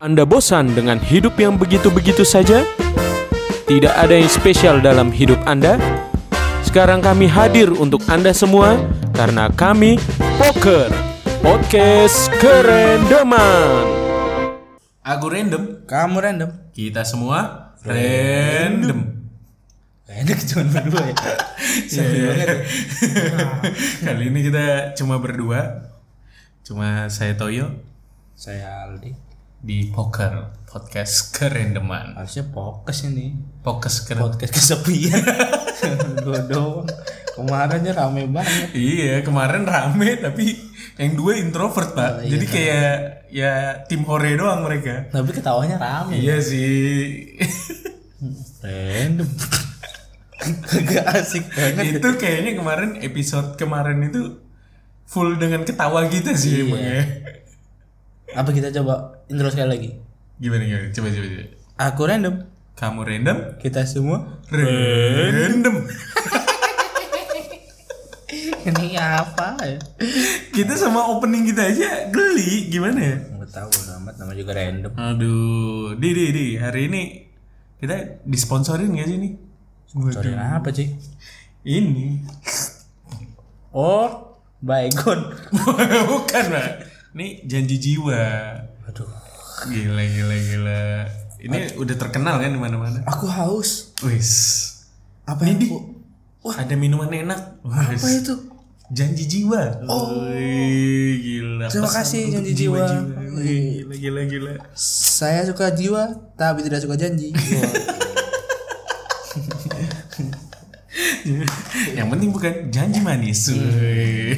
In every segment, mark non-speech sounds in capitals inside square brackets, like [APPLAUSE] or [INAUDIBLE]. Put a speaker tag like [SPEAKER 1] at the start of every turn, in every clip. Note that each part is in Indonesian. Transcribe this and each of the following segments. [SPEAKER 1] Anda bosan dengan hidup yang begitu-begitu saja? Tidak ada yang spesial dalam hidup Anda? Sekarang kami hadir untuk Anda semua karena kami Poker Podcast Kerendeman. Aku random,
[SPEAKER 2] Kamu random.
[SPEAKER 1] kita semua random.
[SPEAKER 2] Enak cuma berdua [LAUGHS] ya. Sedih banget. ya.
[SPEAKER 1] Kali ini kita cuma berdua. Cuma saya Toyo
[SPEAKER 2] Saya Aldi.
[SPEAKER 1] di Poker Podcast Kerendeman.
[SPEAKER 2] Harusnya pokes ini.
[SPEAKER 1] Podcast keren.
[SPEAKER 2] Podcast [LAUGHS] kesepian. Gua doang. Kemarinnya rame banget.
[SPEAKER 1] Iya, kemarin rame tapi yang dua introvert, Oh, iya, Pak. Jadi kayak ya tim hore doang mereka.
[SPEAKER 2] Tapi ketawanya rame.
[SPEAKER 1] Iya sih. [LAUGHS]
[SPEAKER 2] Random. Kagak asik banget.
[SPEAKER 1] itu kayaknya kemarin episode kemarin itu full dengan ketawa kita sih emang ya.
[SPEAKER 2] Apa kita coba intro sekali lagi?
[SPEAKER 1] Gimana gimana? Coba coba coba.
[SPEAKER 2] Aku random.
[SPEAKER 1] Kamu random?
[SPEAKER 2] Kita semua.
[SPEAKER 1] Random.
[SPEAKER 2] Ini apa ya?
[SPEAKER 1] kita sama opening kita aja geli gimana ya?
[SPEAKER 2] Nggak tahu bodo amat nama juga random.
[SPEAKER 1] Aduh, di di di hari ini kita disponsorin gak sih nih?
[SPEAKER 2] Sorry apa sih?
[SPEAKER 1] Ini [LAUGHS]
[SPEAKER 2] Oh, bygone.
[SPEAKER 1] Bukan, Pak. Ini janji jiwa.
[SPEAKER 2] Aduh,
[SPEAKER 1] Gila, gila, gila. Ini udah terkenal kan di mana-mana.
[SPEAKER 2] aku haus.
[SPEAKER 1] Wis.
[SPEAKER 2] Apa yang aku?
[SPEAKER 1] Wah, ada minuman enak.
[SPEAKER 2] Apa
[SPEAKER 1] Wis.
[SPEAKER 2] itu?
[SPEAKER 1] Janji jiwa. Oh.
[SPEAKER 2] Terima
[SPEAKER 1] gila. Pesan
[SPEAKER 2] kasih,
[SPEAKER 1] untuk
[SPEAKER 2] janji jiwa.
[SPEAKER 1] jiwa-jiwa. Wih, Gila, gila, gila.
[SPEAKER 2] Saya suka jiwa, tapi tidak suka janji.
[SPEAKER 1] Yang penting bukan janji manis. Wih.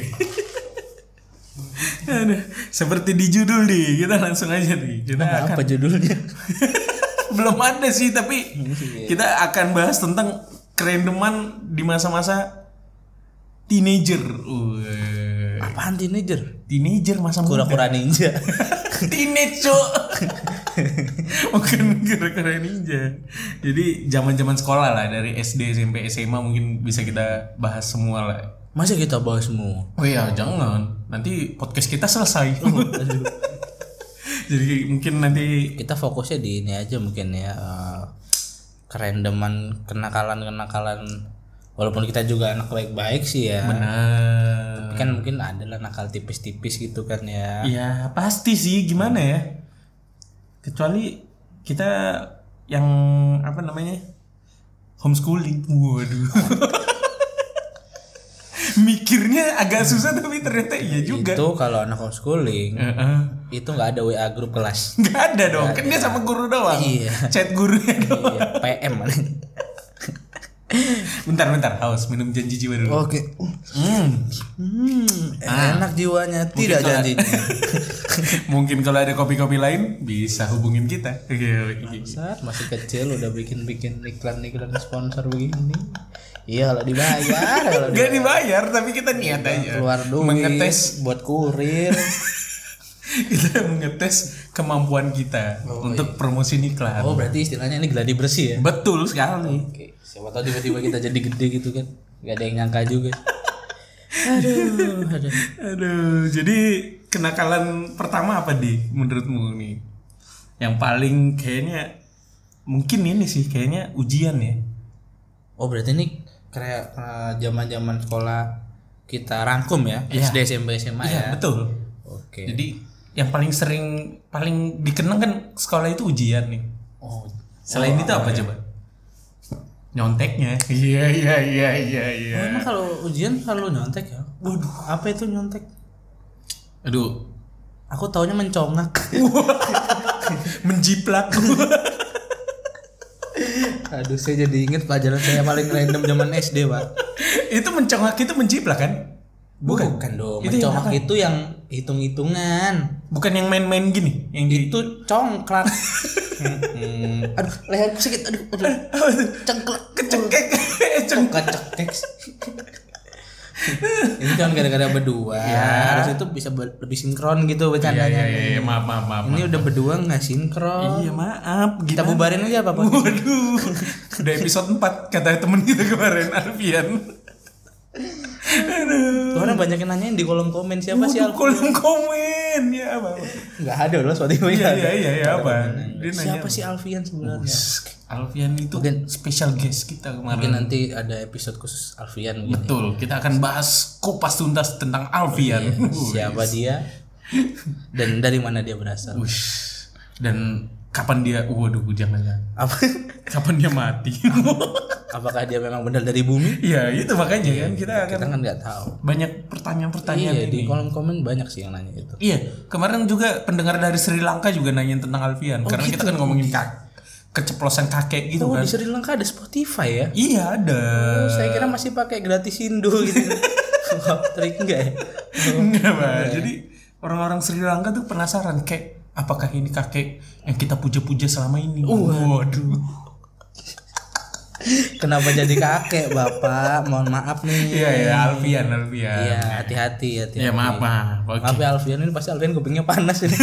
[SPEAKER 1] Aduh, seperti di judul nih, kita langsung aja nih. Kita akan
[SPEAKER 2] Apa judulnya?
[SPEAKER 1] belum ada sih tapi kita akan bahas tentang kerendeman di masa-masa teenager Wih.
[SPEAKER 2] Apaan teenager?
[SPEAKER 1] teenager masa muda
[SPEAKER 2] Kura-kura ninja. [LAUGHS]
[SPEAKER 1] teenage cok. mungkin kira-kira ninja jadi zaman-zaman sekolah lah dari SD SMP SMA mungkin bisa kita bahas semua lah
[SPEAKER 2] Masa kita bahas semua?
[SPEAKER 1] oh iya jangan nanti podcast kita
[SPEAKER 2] [LAUGHS]
[SPEAKER 1] selesai
[SPEAKER 2] Oh, iya.
[SPEAKER 1] jadi mungkin nanti
[SPEAKER 2] Kita fokusnya di ini aja mungkin ya. eh, kerendeman kenakalan-kenakalan walaupun kita juga anak baik-baik sih ya.
[SPEAKER 1] benar
[SPEAKER 2] Tapi Kan mungkin adalah nakal tipis-tipis gitu kan ya.
[SPEAKER 1] Ya pasti sih gimana ya kecuali kita yang apa namanya homeschooling waduh [LAUGHS] mikirnya agak susah tapi ternyata iya juga Hmm.
[SPEAKER 2] Itu kalau anak homeschooling
[SPEAKER 1] Heeh.
[SPEAKER 2] itu nggak ada WA grup
[SPEAKER 1] [LAUGHS]
[SPEAKER 2] kelas.
[SPEAKER 1] nggak ada dong kan dia sama guru doang
[SPEAKER 2] Iya.
[SPEAKER 1] chat gurunya doang
[SPEAKER 2] Iya, PM.
[SPEAKER 1] bentar bentar haus minum janji jiwa dulu
[SPEAKER 2] Oke.
[SPEAKER 1] Hmm.
[SPEAKER 2] Oh. Hmm, enak jiwanya, tidak
[SPEAKER 1] kalau-
[SPEAKER 2] janjinya.
[SPEAKER 1] [LAUGHS] mungkin kalau ada kopi-kopi lain bisa hubungin kita
[SPEAKER 2] Saat masih kecil udah bikin-bikin iklan-iklan sponsor begini. Iya, kalau dibayar, kalau
[SPEAKER 1] Gak dibayar tapi kita niat aja
[SPEAKER 2] Iya, keluar duit
[SPEAKER 1] mengetes [LAUGHS]
[SPEAKER 2] buat kurir.
[SPEAKER 1] kita mengetes kemampuan kita untuk promosi niklan.
[SPEAKER 2] Oh, berarti istilahnya ini geladi bersih ya.
[SPEAKER 1] Betul sekali.
[SPEAKER 2] Oke, siapa tahu tiba-tiba kita jadi gede gitu kan. Gak ada yang nyangka juga. Aduh, aduh.
[SPEAKER 1] Aduh, jadi kenakalan pertama apa di menurutmu nih? Yang paling kayaknya mungkin ini sih kayaknya ujian ya.
[SPEAKER 2] Oh, berarti ini kayak eh, zaman-zaman sekolah kita rangkum ya, SD, SMP, SMA
[SPEAKER 1] Iya,
[SPEAKER 2] ya.
[SPEAKER 1] betul.
[SPEAKER 2] Oke.
[SPEAKER 1] Jadi yang paling sering paling dikenang kan sekolah itu ujian nih.
[SPEAKER 2] Oh,
[SPEAKER 1] Selain itu apa coba? Nyonteknya. Iya, iya, iya, iya, iya.
[SPEAKER 2] emang kalau ujian selalu nyontek ya? Waduh, apa itu nyontek?
[SPEAKER 1] Aduh,
[SPEAKER 2] Aku taunya mencongak.
[SPEAKER 1] menjiplak. [LAUGHS]
[SPEAKER 2] Aduh, saya jadi inget pelajaran saya paling random zaman SD, Pak.
[SPEAKER 1] itu mencongak itu menjiplak kan?
[SPEAKER 2] Bukan, dong,
[SPEAKER 1] Itu yang
[SPEAKER 2] mencongak itu yang hitung-hitungan.
[SPEAKER 1] Bukan yang main-main gini, yang di-
[SPEAKER 2] Itu congklak. Mm-mm. aduh, leherku sakit. Aduh, aduh.
[SPEAKER 1] Apa tuh?
[SPEAKER 2] Cengklak. Oh.
[SPEAKER 1] kecengkek,
[SPEAKER 2] [LAUGHS]
[SPEAKER 1] ceng.
[SPEAKER 2] Kecekek. Ini kan gara-gara berdua. Harus itu bisa be- lebih sinkron gitu
[SPEAKER 1] Ya
[SPEAKER 2] bercandanya.
[SPEAKER 1] ya ya, ya, maaf maaf maaf.
[SPEAKER 2] Ini udah berdua nggak sinkron.
[SPEAKER 1] Iya maaf.
[SPEAKER 2] Kita
[SPEAKER 1] Kita [LAUGHS]
[SPEAKER 2] bubarin aja apa apa.
[SPEAKER 1] Waduh, udah episode 4 kata temen kita kemarin Alfian.
[SPEAKER 2] Tuh orang banyak yang nanyain di kolom komen siapa sih
[SPEAKER 1] Waduh,
[SPEAKER 2] Al?
[SPEAKER 1] kolom komen ya apa?
[SPEAKER 2] Nggak ada loh Spotify.
[SPEAKER 1] Iya
[SPEAKER 2] nggak
[SPEAKER 1] iya
[SPEAKER 2] ada.
[SPEAKER 1] iya iya, apa? Dia
[SPEAKER 2] Siapa
[SPEAKER 1] nanya.
[SPEAKER 2] sih Alfian sebenarnya?
[SPEAKER 1] Alfian itu
[SPEAKER 2] Mungkin-
[SPEAKER 1] special guest kita
[SPEAKER 2] Mungkin Iya.
[SPEAKER 1] kemarin.
[SPEAKER 2] nanti ada episode khusus Alfian mungkin. ya.
[SPEAKER 1] Betul, kita akan bahas kupas tuntas tentang Alfian. Wuih.
[SPEAKER 2] Siapa dia? Dan dari mana dia berasal?
[SPEAKER 1] [LAUGHS] Wush. Dan kapan dia? Waduh, jangan jangan.
[SPEAKER 2] Apa?
[SPEAKER 1] Kapan dia mati? [LAUGHS]
[SPEAKER 2] Apakah dia memang benar dari bumi?
[SPEAKER 1] Iya, itu makanya kan kita akan
[SPEAKER 2] Kita kan nggak tahu.
[SPEAKER 1] banyak pertanyaan-pertanyaan
[SPEAKER 2] Iya,
[SPEAKER 1] ini.
[SPEAKER 2] di kolom komen banyak sih yang nanya itu.
[SPEAKER 1] Iya, kemarin juga pendengar dari Sri Lanka juga nanyain tentang Alfian karena kita kan ngomongin kak keceplosan kakek
[SPEAKER 2] gitu.
[SPEAKER 1] gitu
[SPEAKER 2] Oh, di
[SPEAKER 1] kan.
[SPEAKER 2] Sri Lanka ada Spotify ya?
[SPEAKER 1] Iya, ada.
[SPEAKER 2] Oh, saya kira masih pakai gratis Indo gitu. Trik enggak ya?
[SPEAKER 1] Enggak,
[SPEAKER 2] Iya,
[SPEAKER 1] Pak. Jadi orang-orang Sri Lanka tuh penasaran kayak apakah ini kakek yang kita puja-puja selama ini. Waduh.
[SPEAKER 2] Kenapa jadi kakek, Bapak? Mohon maaf nih.
[SPEAKER 1] Iya, ya, Alfian, Alfian.
[SPEAKER 2] Iya, hati-hati hati
[SPEAKER 1] Ya maaf, maaf. Oke.
[SPEAKER 2] Maaf ya Alfian ini pasti Alfian kupingnya panas [LAUGHS] ini.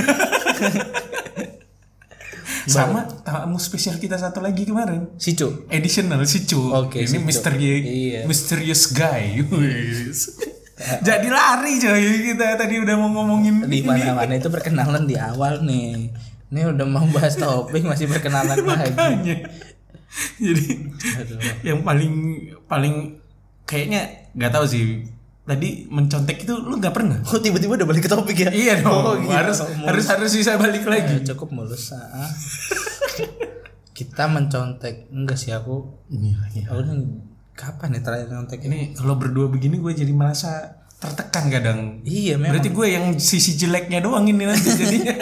[SPEAKER 1] Sama tamu spesial kita satu lagi kemarin.
[SPEAKER 2] si Cu.
[SPEAKER 1] additional si Cu.
[SPEAKER 2] Oke,
[SPEAKER 1] ini
[SPEAKER 2] si Cu.
[SPEAKER 1] misteri
[SPEAKER 2] Iya.
[SPEAKER 1] mysterious guy. [LAUGHS] Wis. Jadi lari coy kita tadi udah mau ngomongin
[SPEAKER 2] Di mana-mana itu perkenalan di awal nih. Ini udah mau bahas topik masih perkenalan lagi.
[SPEAKER 1] Makanya. Jadi
[SPEAKER 2] Aduh.
[SPEAKER 1] yang paling paling kayaknya nggak tahu sih. Tadi mencontek itu lu nggak pernah.
[SPEAKER 2] Oh, tiba-tiba udah balik ke topik ya?
[SPEAKER 1] Iya dong.
[SPEAKER 2] Oh, gitu.
[SPEAKER 1] harus harus harus bisa balik lagi.
[SPEAKER 2] Ya, cukup mulus ah. Kita mencontek enggak sih aku. Aku udah kapan ya terakhir nyontek ini?
[SPEAKER 1] Ini kalau berdua begini gue jadi merasa tertekan kadang.
[SPEAKER 2] Iya memang
[SPEAKER 1] Berarti gue yang sisi jeleknya doang ini nanti
[SPEAKER 2] [LAUGHS]
[SPEAKER 1] jadinya.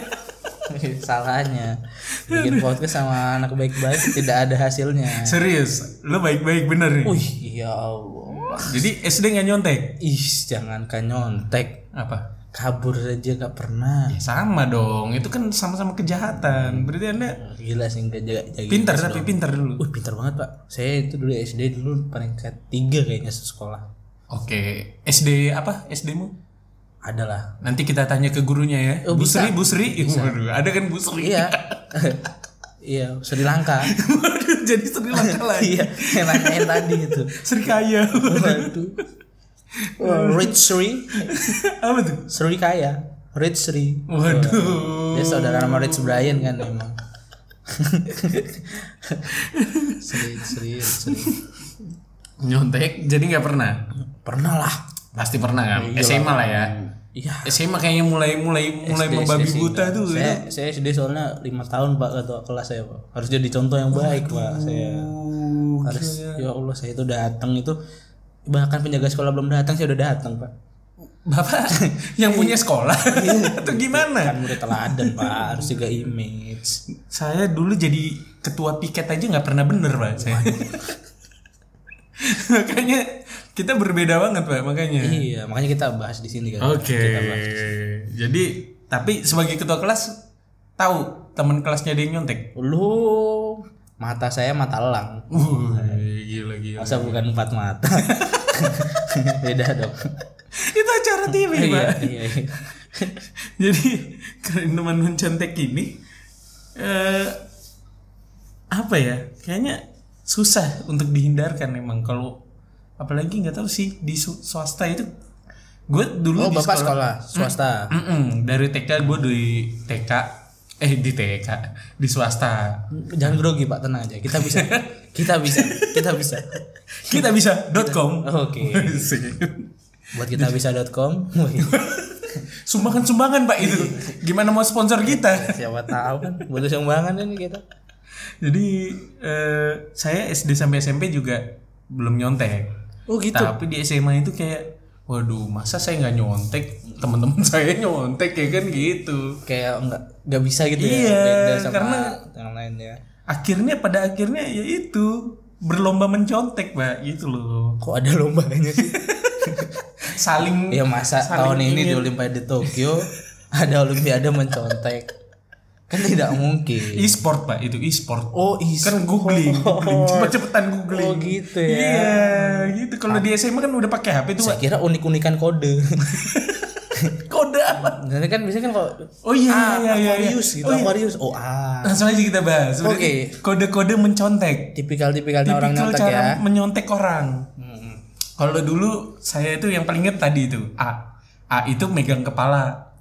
[SPEAKER 2] salahnya bikin podcast sama anak baik-baik tidak ada hasilnya.
[SPEAKER 1] Serius, lu baik-baik bener nih.
[SPEAKER 2] Wih, ya Allah.
[SPEAKER 1] Jadi SD nggak nyontek?
[SPEAKER 2] Ih, jangankan nyontek,
[SPEAKER 1] Apa?
[SPEAKER 2] kabur saja gak pernah.
[SPEAKER 1] Sama dong, itu kan sama-sama kejahatan. Berarti anda
[SPEAKER 2] Gila sih enggak jaga jaga.
[SPEAKER 1] pintar tapi pintar dulu.
[SPEAKER 2] Wih, pintar banget, Pak. Saya itu dulu SD dulu peringkat tiga kayaknya sekolah.
[SPEAKER 1] Oke, SD apa? SD mu?
[SPEAKER 2] Adalah.
[SPEAKER 1] Nanti kita tanya ke gurunya ya.
[SPEAKER 2] Oh,
[SPEAKER 1] Bu
[SPEAKER 2] bisa.
[SPEAKER 1] Sri, Bu Sri. Waduh, ada kan Bu Sri?
[SPEAKER 2] Iya. iya, Sri Lanka.
[SPEAKER 1] [LAUGHS] Waduh, jadi Sri Lanka lagi.
[SPEAKER 2] iya, yang nanyain tadi itu.
[SPEAKER 1] Sri kaya.
[SPEAKER 2] Waduh. Rich Sri,
[SPEAKER 1] apa tuh?
[SPEAKER 2] Sri kaya, Rich Sri.
[SPEAKER 1] Waduh.
[SPEAKER 2] Dia saudara sama Rich Brian kan memang. [LAUGHS] Sri, Sri, Sri.
[SPEAKER 1] Nyontek, jadi nggak pernah.
[SPEAKER 2] Pernah lah.
[SPEAKER 1] Pasti pernah kan? SMA lah ya.
[SPEAKER 2] Iya.
[SPEAKER 1] SMA kayaknya mulai mulai mulai
[SPEAKER 2] SD,
[SPEAKER 1] membabi
[SPEAKER 2] SD,
[SPEAKER 1] buta
[SPEAKER 2] enggak.
[SPEAKER 1] tuh. iya. ya.
[SPEAKER 2] Saya, saya SD soalnya lima tahun pak ketua kelas saya pak. Harus jadi contoh yang baik pak saya.
[SPEAKER 1] Waduh,
[SPEAKER 2] Harus ya Allah saya itu datang itu bahkan penjaga sekolah belum datang saya udah datang pak.
[SPEAKER 1] Bapak yang punya
[SPEAKER 2] Iya.
[SPEAKER 1] sekolah [LAUGHS] atau gimana?
[SPEAKER 2] Kan murid teladan pak [LAUGHS] harus jaga image.
[SPEAKER 1] Saya dulu jadi ketua piket aja nggak pernah bener pak saya. [LAUGHS] makanya kita berbeda banget pak makanya.
[SPEAKER 2] Iya makanya kita bahas di sini kan.
[SPEAKER 1] Oke. Jadi tapi sebagai ketua kelas tahu teman kelasnya ada yang nyontek.
[SPEAKER 2] Lu mata saya mata elang.
[SPEAKER 1] Uh, gila gila.
[SPEAKER 2] Masa bukan empat mata. [LAUGHS] Beda dong.
[SPEAKER 1] Itu acara TV pak. [LAUGHS]
[SPEAKER 2] iya, iya.
[SPEAKER 1] Jadi keren teman mencontek ini eh apa ya? Kayaknya susah untuk dihindarkan emang kalau apalagi nggak tahu sih di su- swasta itu gue dulu
[SPEAKER 2] Oh
[SPEAKER 1] di
[SPEAKER 2] bapak
[SPEAKER 1] sekolah-
[SPEAKER 2] sekolah swasta.
[SPEAKER 1] Mm-mm, dari TK gue di TK eh di TK di swasta
[SPEAKER 2] Jangan grogi Pak, tenang aja. Kita bisa. Kita bisa. Kita bisa.
[SPEAKER 1] kita bisa.com
[SPEAKER 2] Oke.
[SPEAKER 1] [LAUGHS]
[SPEAKER 2] Buat kita bisa.com.
[SPEAKER 1] sumbangan sumbangan pak itu
[SPEAKER 2] Iya.
[SPEAKER 1] gimana mau sponsor kita
[SPEAKER 2] Siapa tahu kan butuh sumbangan kan kita.
[SPEAKER 1] Jadi eh, saya SD sampai SMP juga belum nyontek.
[SPEAKER 2] Oh, gitu.
[SPEAKER 1] Tapi di SMA itu kayak waduh masa saya nggak nyontek teman-teman [LAUGHS] saya nyontek ya kan gitu.
[SPEAKER 2] Kayak nggak nggak bisa gitu
[SPEAKER 1] Iya,
[SPEAKER 2] ya. Beda sama
[SPEAKER 1] karena-
[SPEAKER 2] yang lain ya.
[SPEAKER 1] Akhirnya pada akhirnya ya itu berlomba mencontek pak gitu loh.
[SPEAKER 2] Kok ada lombanya sih?
[SPEAKER 1] Saling
[SPEAKER 2] ya masa
[SPEAKER 1] Saling
[SPEAKER 2] tahun ini di
[SPEAKER 1] ingin.
[SPEAKER 2] Olimpiade Tokyo ada Olimpiade mencontek. Kan tidak mungkin.
[SPEAKER 1] e-sport pak itu e-sport.
[SPEAKER 2] Oh, is
[SPEAKER 1] kan googling, googling.
[SPEAKER 2] [LAUGHS]
[SPEAKER 1] cepet-cepetan googling.
[SPEAKER 2] Oh, gitu ya.
[SPEAKER 1] Iya gitu. Kalau di SMA kan udah pakai HP tuh
[SPEAKER 2] Saya
[SPEAKER 1] pak.
[SPEAKER 2] kira unik-unikan
[SPEAKER 1] [LAUGHS]
[SPEAKER 2] kode.
[SPEAKER 1] Kode apa?
[SPEAKER 2] Nanti kan biasanya kan kalau
[SPEAKER 1] Oh iya iya iya. iya.
[SPEAKER 2] Aquarius gitu,
[SPEAKER 1] Oh, iya.
[SPEAKER 2] Aquarius. Oh, ah.
[SPEAKER 1] langsung aja kita bahas Berarti kode-kode mencontek
[SPEAKER 2] Tipikal-tipikalnya Nah, orang
[SPEAKER 1] tipikal
[SPEAKER 2] nyontek
[SPEAKER 1] cara
[SPEAKER 2] ya.
[SPEAKER 1] menyontek orang Kalau dulu saya itu yang paling inget tadi itu A. A itu megang kepala.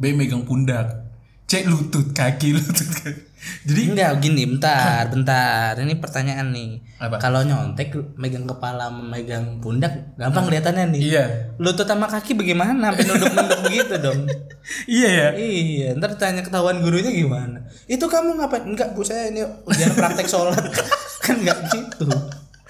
[SPEAKER 1] B megang pundak. C lutut kaki [LAUGHS] lutut kaki. Jadi
[SPEAKER 2] Enggak gini, bentar, bentar. Ini pertanyaan nih.
[SPEAKER 1] Ah. Apa?
[SPEAKER 2] Kalau nyontek megang kepala, memegang pundak, gampang kelihatannya nih.
[SPEAKER 1] Ah. iya.
[SPEAKER 2] Lutut sama kaki bagaimana? Sampai nunduk-nunduk begitu
[SPEAKER 1] [LAUGHS]
[SPEAKER 2] dong.
[SPEAKER 1] Iya ya.
[SPEAKER 2] Iya, ntar tanya ketahuan gurunya gimana? Itu kamu ngapain? Enggak, Bu, saya ini ujian praktek sholat. [LAUGHS] kan enggak gitu.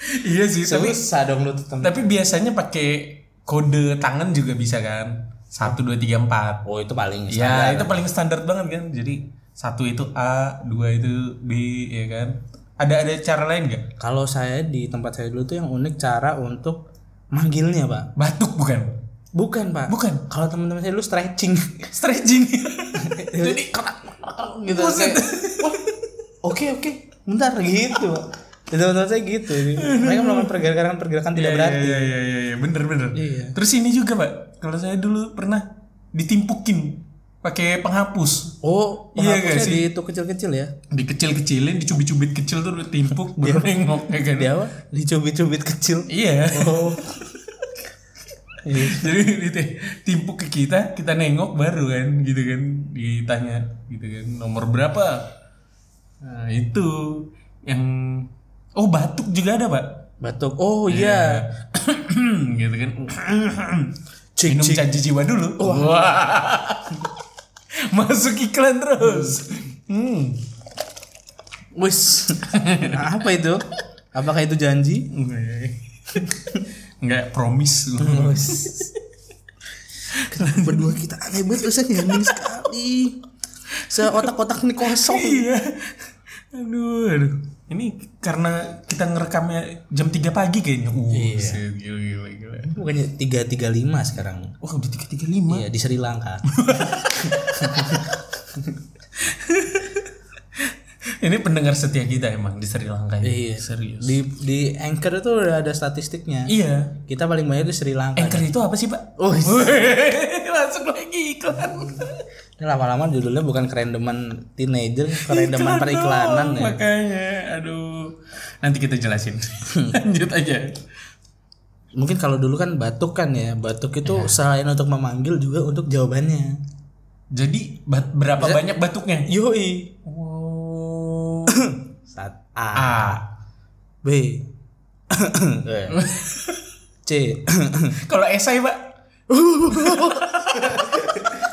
[SPEAKER 1] Iya sih tapi
[SPEAKER 2] Susah dong lutut sama
[SPEAKER 1] tapi biasanya pakai kode tangan juga bisa kan? 1 2 3 4.
[SPEAKER 2] Oh, itu paling
[SPEAKER 1] Ya,
[SPEAKER 2] standar.
[SPEAKER 1] itu paling standar banget kan. Jadi satu itu A, dua itu B, ya kan? Ada ada cara lain gak?
[SPEAKER 2] Kalau saya di tempat saya dulu tuh yang unik cara untuk manggilnya, Pak.
[SPEAKER 1] Batuk bukan?
[SPEAKER 2] Bukan, Pak.
[SPEAKER 1] Bukan.
[SPEAKER 2] Kalau teman-teman saya dulu
[SPEAKER 1] [LAUGHS]
[SPEAKER 2] stretching.
[SPEAKER 1] Stretching.
[SPEAKER 2] Jadi kerak gitu. Kayak, "Wah, Oke, oke. Bentar gitu, Pak. Dan teman-teman saya gitu. Mereka melakukan pergerakan-pergerakan tidak berarti.
[SPEAKER 1] Iya iya iya iya bener bener.
[SPEAKER 2] Iya.
[SPEAKER 1] Terus ini juga pak, kalau saya dulu pernah ditimpukin pakai penghapus,
[SPEAKER 2] Oh, penghapusnya
[SPEAKER 1] Iya nggak sih?
[SPEAKER 2] di itu kecil-kecil ya?
[SPEAKER 1] dikecil-kecilin, dicubit-cubit kecil tuh ditimpuk baru nengok ya kan?
[SPEAKER 2] Di apa? Dicubit-cubit kecil.
[SPEAKER 1] Iya. [LAUGHS]
[SPEAKER 2] Oh.
[SPEAKER 1] Jadi ditimpuk ke kita, kita nengok baru kan, gitu kan? Ditanya, gitu kan? Nomor berapa? Nah, itu yang oh batuk juga ada pak. [CLEARS THROAT]
[SPEAKER 2] Batuk. Oh iya.
[SPEAKER 1] gitu kan
[SPEAKER 2] Cik,
[SPEAKER 1] minum
[SPEAKER 2] cik.
[SPEAKER 1] janji jiwa dulu Wah. masuk iklan terus hmm.
[SPEAKER 2] Wis. [LAUGHS] apa itu? Apakah itu janji?
[SPEAKER 1] Enggak ya. nggak promise
[SPEAKER 2] [LAUGHS] Berdua kita aneh banget Ustaz ya aneh sekali. Seotak-otak ini kosong.
[SPEAKER 1] iya aduh aduh ini karena kita ngerekamnya jam 3 pagi kayaknya uh
[SPEAKER 2] Iya.
[SPEAKER 1] set, gila gila gila
[SPEAKER 2] Bukannya 335 sekarang.
[SPEAKER 1] wah udah tiga tiga lima
[SPEAKER 2] Iya, di Sri Lanka.
[SPEAKER 1] ini pendengar setia kita emang di Sri Lanka ini.
[SPEAKER 2] [LAUGHS] Iya.
[SPEAKER 1] serius
[SPEAKER 2] Di di Anchor itu udah ada statistiknya.
[SPEAKER 1] iya
[SPEAKER 2] Kita paling banyak di Sri Lanka.
[SPEAKER 1] anchor itu apa sih pak
[SPEAKER 2] Oh, iya.
[SPEAKER 1] [LAUGHS] langsung lagi iklan
[SPEAKER 2] ini lama-lama judulnya bukan kerendeman [LAUGHS] teenager, kerendeman periklanan
[SPEAKER 1] dong,
[SPEAKER 2] ya.
[SPEAKER 1] Makanya, aduh. Nanti kita
[SPEAKER 2] [LAUGHS]
[SPEAKER 1] jelasin. Lanjut aja.
[SPEAKER 2] Mungkin kalau dulu kan batuk kan ya. Batuk itu selain untuk memanggil juga untuk jawabannya.
[SPEAKER 1] Jadi bat- berapa banyak batuknya?
[SPEAKER 2] Iya. Yoi.
[SPEAKER 1] Wow.
[SPEAKER 2] Saat A,
[SPEAKER 1] A.
[SPEAKER 2] B. [LAUGHS] Eh. C. [LAUGHS]
[SPEAKER 1] Kalau esai, Pak,